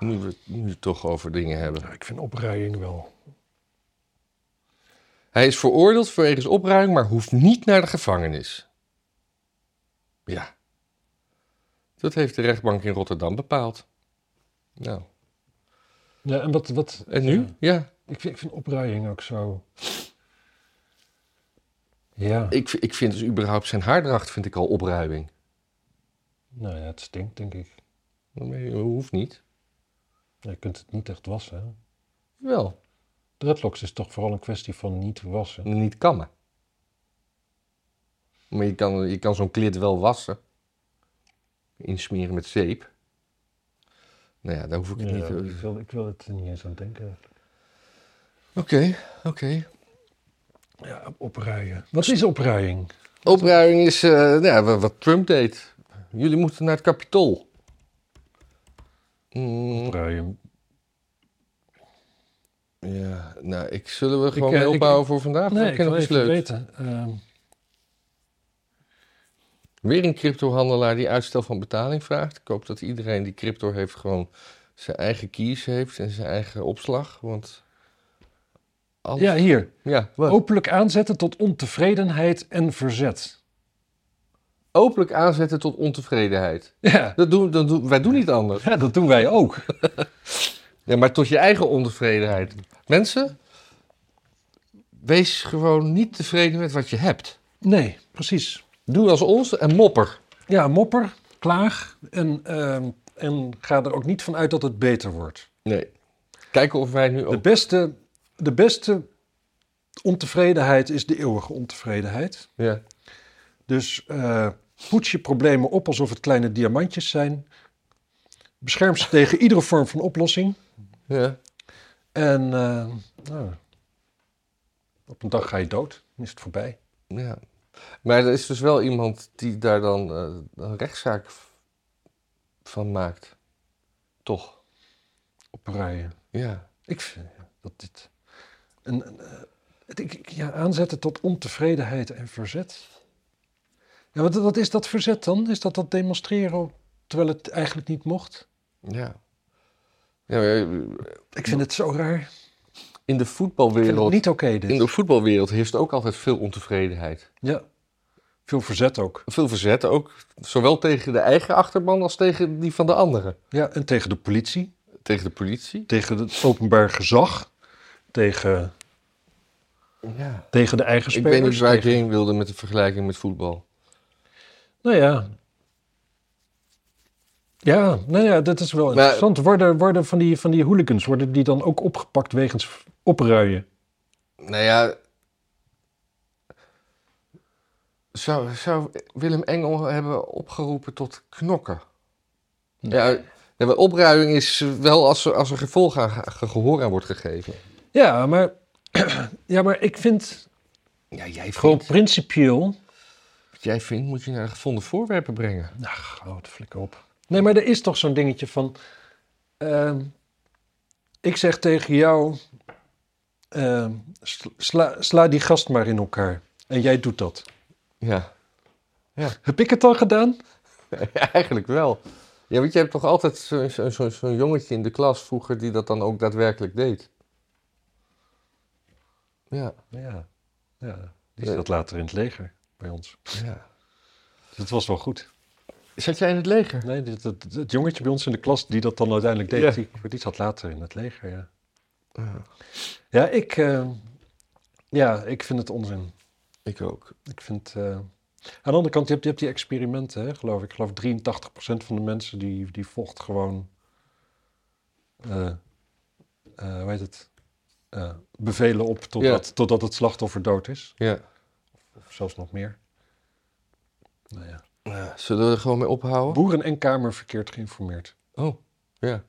Speaker 1: Nu we het nu toch over dingen hebben.
Speaker 2: Nou, ik vind opruiing wel.
Speaker 1: Hij is veroordeeld wegens opruiming, maar hoeft niet naar de gevangenis. Ja. Dat heeft de rechtbank in Rotterdam bepaald. Nou,
Speaker 2: Ja, en wat, wat,
Speaker 1: en nu? Ja.
Speaker 2: Ik vind, ik vind opruiing ook zo. Ja,
Speaker 1: Ik, ik vind dus überhaupt zijn haardracht vind ik al opruiming.
Speaker 2: nou ja, het stinkt, denk ik.
Speaker 1: Nee, hoeft niet.
Speaker 2: Je kunt het niet echt wassen. hè?
Speaker 1: Wel,
Speaker 2: Dreadlocks is toch vooral een kwestie van niet wassen.
Speaker 1: niet kammen. Maar je kan, je kan zo'n klit wel wassen. Insmeren met zeep. Nou ja, daar hoef ik het
Speaker 2: Ja,
Speaker 1: niet...
Speaker 2: ik, wil, ik wil het er niet eens aan denken.
Speaker 1: Oké, oké.
Speaker 2: Ja, opruien. Wat is opruiing?
Speaker 1: Opruiming is eh, nou ja, wa- wat Trump deed. Jullie moeten naar het kapitool. Mm,
Speaker 2: Opruien.
Speaker 1: ja, nou, ik zullen we gewoon
Speaker 2: eh,
Speaker 1: mee
Speaker 2: ik-
Speaker 1: opbouwen voor vandaag.
Speaker 2: Nee,
Speaker 1: Nee,
Speaker 2: ik
Speaker 1: nog
Speaker 2: wil
Speaker 1: iets
Speaker 2: even
Speaker 1: leuks.
Speaker 2: weten. ehm,
Speaker 1: Weer een cryptohandelaar die uitstel van betaling vraagt. Ik hoop dat iedereen die crypto heeft gewoon zijn eigen keys heeft en zijn eigen opslag. Want alles...
Speaker 2: ja,
Speaker 1: Ja,
Speaker 2: hier.
Speaker 1: wat?
Speaker 2: Openlijk aanzetten tot ontevredenheid en verzet.
Speaker 1: Openlijk aanzetten tot ontevredenheid.
Speaker 2: Ja,
Speaker 1: Dat doen, dat doen, wij doen niet anders.
Speaker 2: ja dat doen wij ook.
Speaker 1: Ja, maar tot je eigen ontevredenheid. Mensen, wees gewoon niet tevreden met wat je hebt.
Speaker 2: Nee, precies.
Speaker 1: Doe als ons en mopper.
Speaker 2: Ja, mopper, klaag en, ehm, en ga er ook niet van uit dat het beter wordt.
Speaker 1: Nee. Kijken of wij nu
Speaker 2: De
Speaker 1: ook...
Speaker 2: beste, de beste ontevredenheid is de eeuwige ontevredenheid.
Speaker 1: Ja.
Speaker 2: Dus eh, poets je problemen op alsof het kleine diamantjes zijn. Bescherm ze tegen iedere vorm van oplossing.
Speaker 1: ja.
Speaker 2: En eh, nou, op een dag ga je dood, dan is het voorbij.
Speaker 1: Ja. Maar er is dus wel iemand die daar dan eh, een rechtszaak v- van maakt. Toch?
Speaker 2: Opruien.
Speaker 1: Ja.
Speaker 2: Ik vind ja, dat dit. Een, een, eh, het- ik- ik- ja, aanzetten tot ontevredenheid en verzet. Ja, wat, wat is dat verzet dan? Is dat dat demonstreren op- terwijl het eigenlijk niet mocht?
Speaker 1: Ja. ja maar eh,
Speaker 2: Ik vind het zo raar. Ik
Speaker 1: in de
Speaker 2: vind het
Speaker 1: voetbalwereld...
Speaker 2: niet oké dit.
Speaker 1: In de voetbalwereld heerst ook altijd veel ontevredenheid.
Speaker 2: Ja. Veel verzet ook.
Speaker 1: veel verzet ook. Zowel tegen de eigen achterban als tegen die van de anderen.
Speaker 2: Ja, en tegen de politie,
Speaker 1: Tegen de politie.
Speaker 2: tegen het openbaar gezag, tegen,
Speaker 1: Ja.
Speaker 2: tegen de eigen
Speaker 1: Ik
Speaker 2: spelers.
Speaker 1: weet niet waar ik
Speaker 2: tegen-
Speaker 1: heen wilde met de vergelijking met voetbal.
Speaker 2: Nou ja. Ja, nou ja, dat is wel interessant. Worden, worden van, die, van die hooligans, worden die dan ook opgepakt wegens v- opruien?
Speaker 1: Nou ja. Zou, zou Willem Engel hebben opgeroepen tot knokken? Ja, ja, maar opruiming is wel als er, als er gevolg aan, ge- gehoor aan wordt gegeven.
Speaker 2: Ja, maar, ja, maar ik vind...
Speaker 1: Ja, jij
Speaker 2: Gewoon
Speaker 1: vindt,
Speaker 2: principieel.
Speaker 1: wat jij vindt moet je naar gevonden voorwerpen brengen.
Speaker 2: Ach, houd Nou, flikker op. Nee, maar er is toch zo'n dingetje van... ehm, ik zeg tegen jou... ehm, sla- sla, sla die gast maar in elkaar. En jij doet dat.
Speaker 1: Ja,
Speaker 2: Heb ik het dan gedaan?
Speaker 1: eigenlijk wel. Ja, want je hebt toch altijd zo- zo- zo- zo'n jongetje in de klas vroeger die dat dan ook daadwerkelijk deed. Ja,
Speaker 2: Ja. ja. Die
Speaker 1: Nee.
Speaker 2: zat later in het leger bij ons.
Speaker 1: ja.
Speaker 2: Dus dat was wel goed.
Speaker 1: Zat jij in het leger?
Speaker 2: Nee, dit- dat- dat- het jongetje bij ons in de klas die dat dan uiteindelijk deed...
Speaker 1: Ja.
Speaker 2: Die, die zat later in het leger, ja.
Speaker 1: Ja.
Speaker 2: Ja, ik, eh, ja, ik vind het onzin.
Speaker 1: Ik ook.
Speaker 2: Ik vind. eh, Aan de andere kant, je hebt, je hebt die experimenten, hè, geloof ik. Ik geloof 83% van de mensen die, die volgt gewoon. eh, eh, hoe heet het? Eh, bevelen op totdat, totdat het slachtoffer dood is.
Speaker 1: Ja.
Speaker 2: Of zelfs nog meer. Nou ja.
Speaker 1: Ja, Zullen we er gewoon mee ophouden?
Speaker 2: Boeren en Kamer verkeerd geïnformeerd.
Speaker 1: Oh, ja.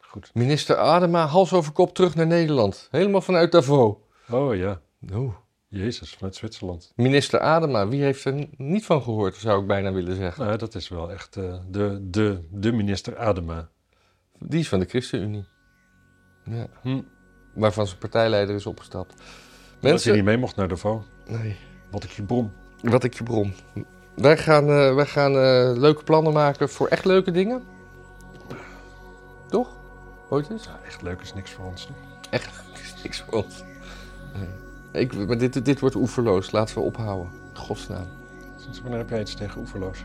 Speaker 2: Goed.
Speaker 1: Minister Adema, hals over kop terug naar Nederland. Helemaal vanuit Davos.
Speaker 2: Oh ja,
Speaker 1: Nou.
Speaker 2: Jezus, vanuit Zwitserland.
Speaker 1: Minister Adema, wie heeft er niet van gehoord, zou ik bijna willen zeggen.
Speaker 2: Nou, dat is wel echt eh, de, de, de minister Adema.
Speaker 1: Die is van de ChristenUnie. Ja.
Speaker 2: Hm.
Speaker 1: Waarvan zijn partijleider is opgestapt.
Speaker 2: Dat hij
Speaker 1: Mensen,
Speaker 2: niet mee mocht naar Davos.
Speaker 1: nee.
Speaker 2: Wat ik je brom.
Speaker 1: wat ik je bron. Wij gaan, eh, wij gaan eh, leuke plannen maken voor echt leuke dingen. Toch? Ooit eens?
Speaker 2: Echt leuk is niks voor ons. hè?
Speaker 1: Echt, het is niks voor ons. Nee. Eh, Ik, maar dit, dit wordt oeverloos. Laten we ophouden. In Godsnaam.
Speaker 2: Sinds wanneer heb jij iets tegen oeverloos?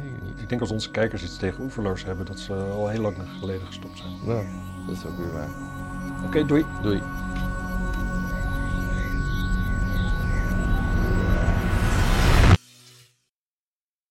Speaker 1: Nee, niet.
Speaker 2: Ik denk als onze kijkers iets tegen oeverloos hebben, dat ze al heel lang geleden gestopt zijn.
Speaker 1: Nou, dat is ook weer waar.
Speaker 2: Oké, doei.
Speaker 1: Doei.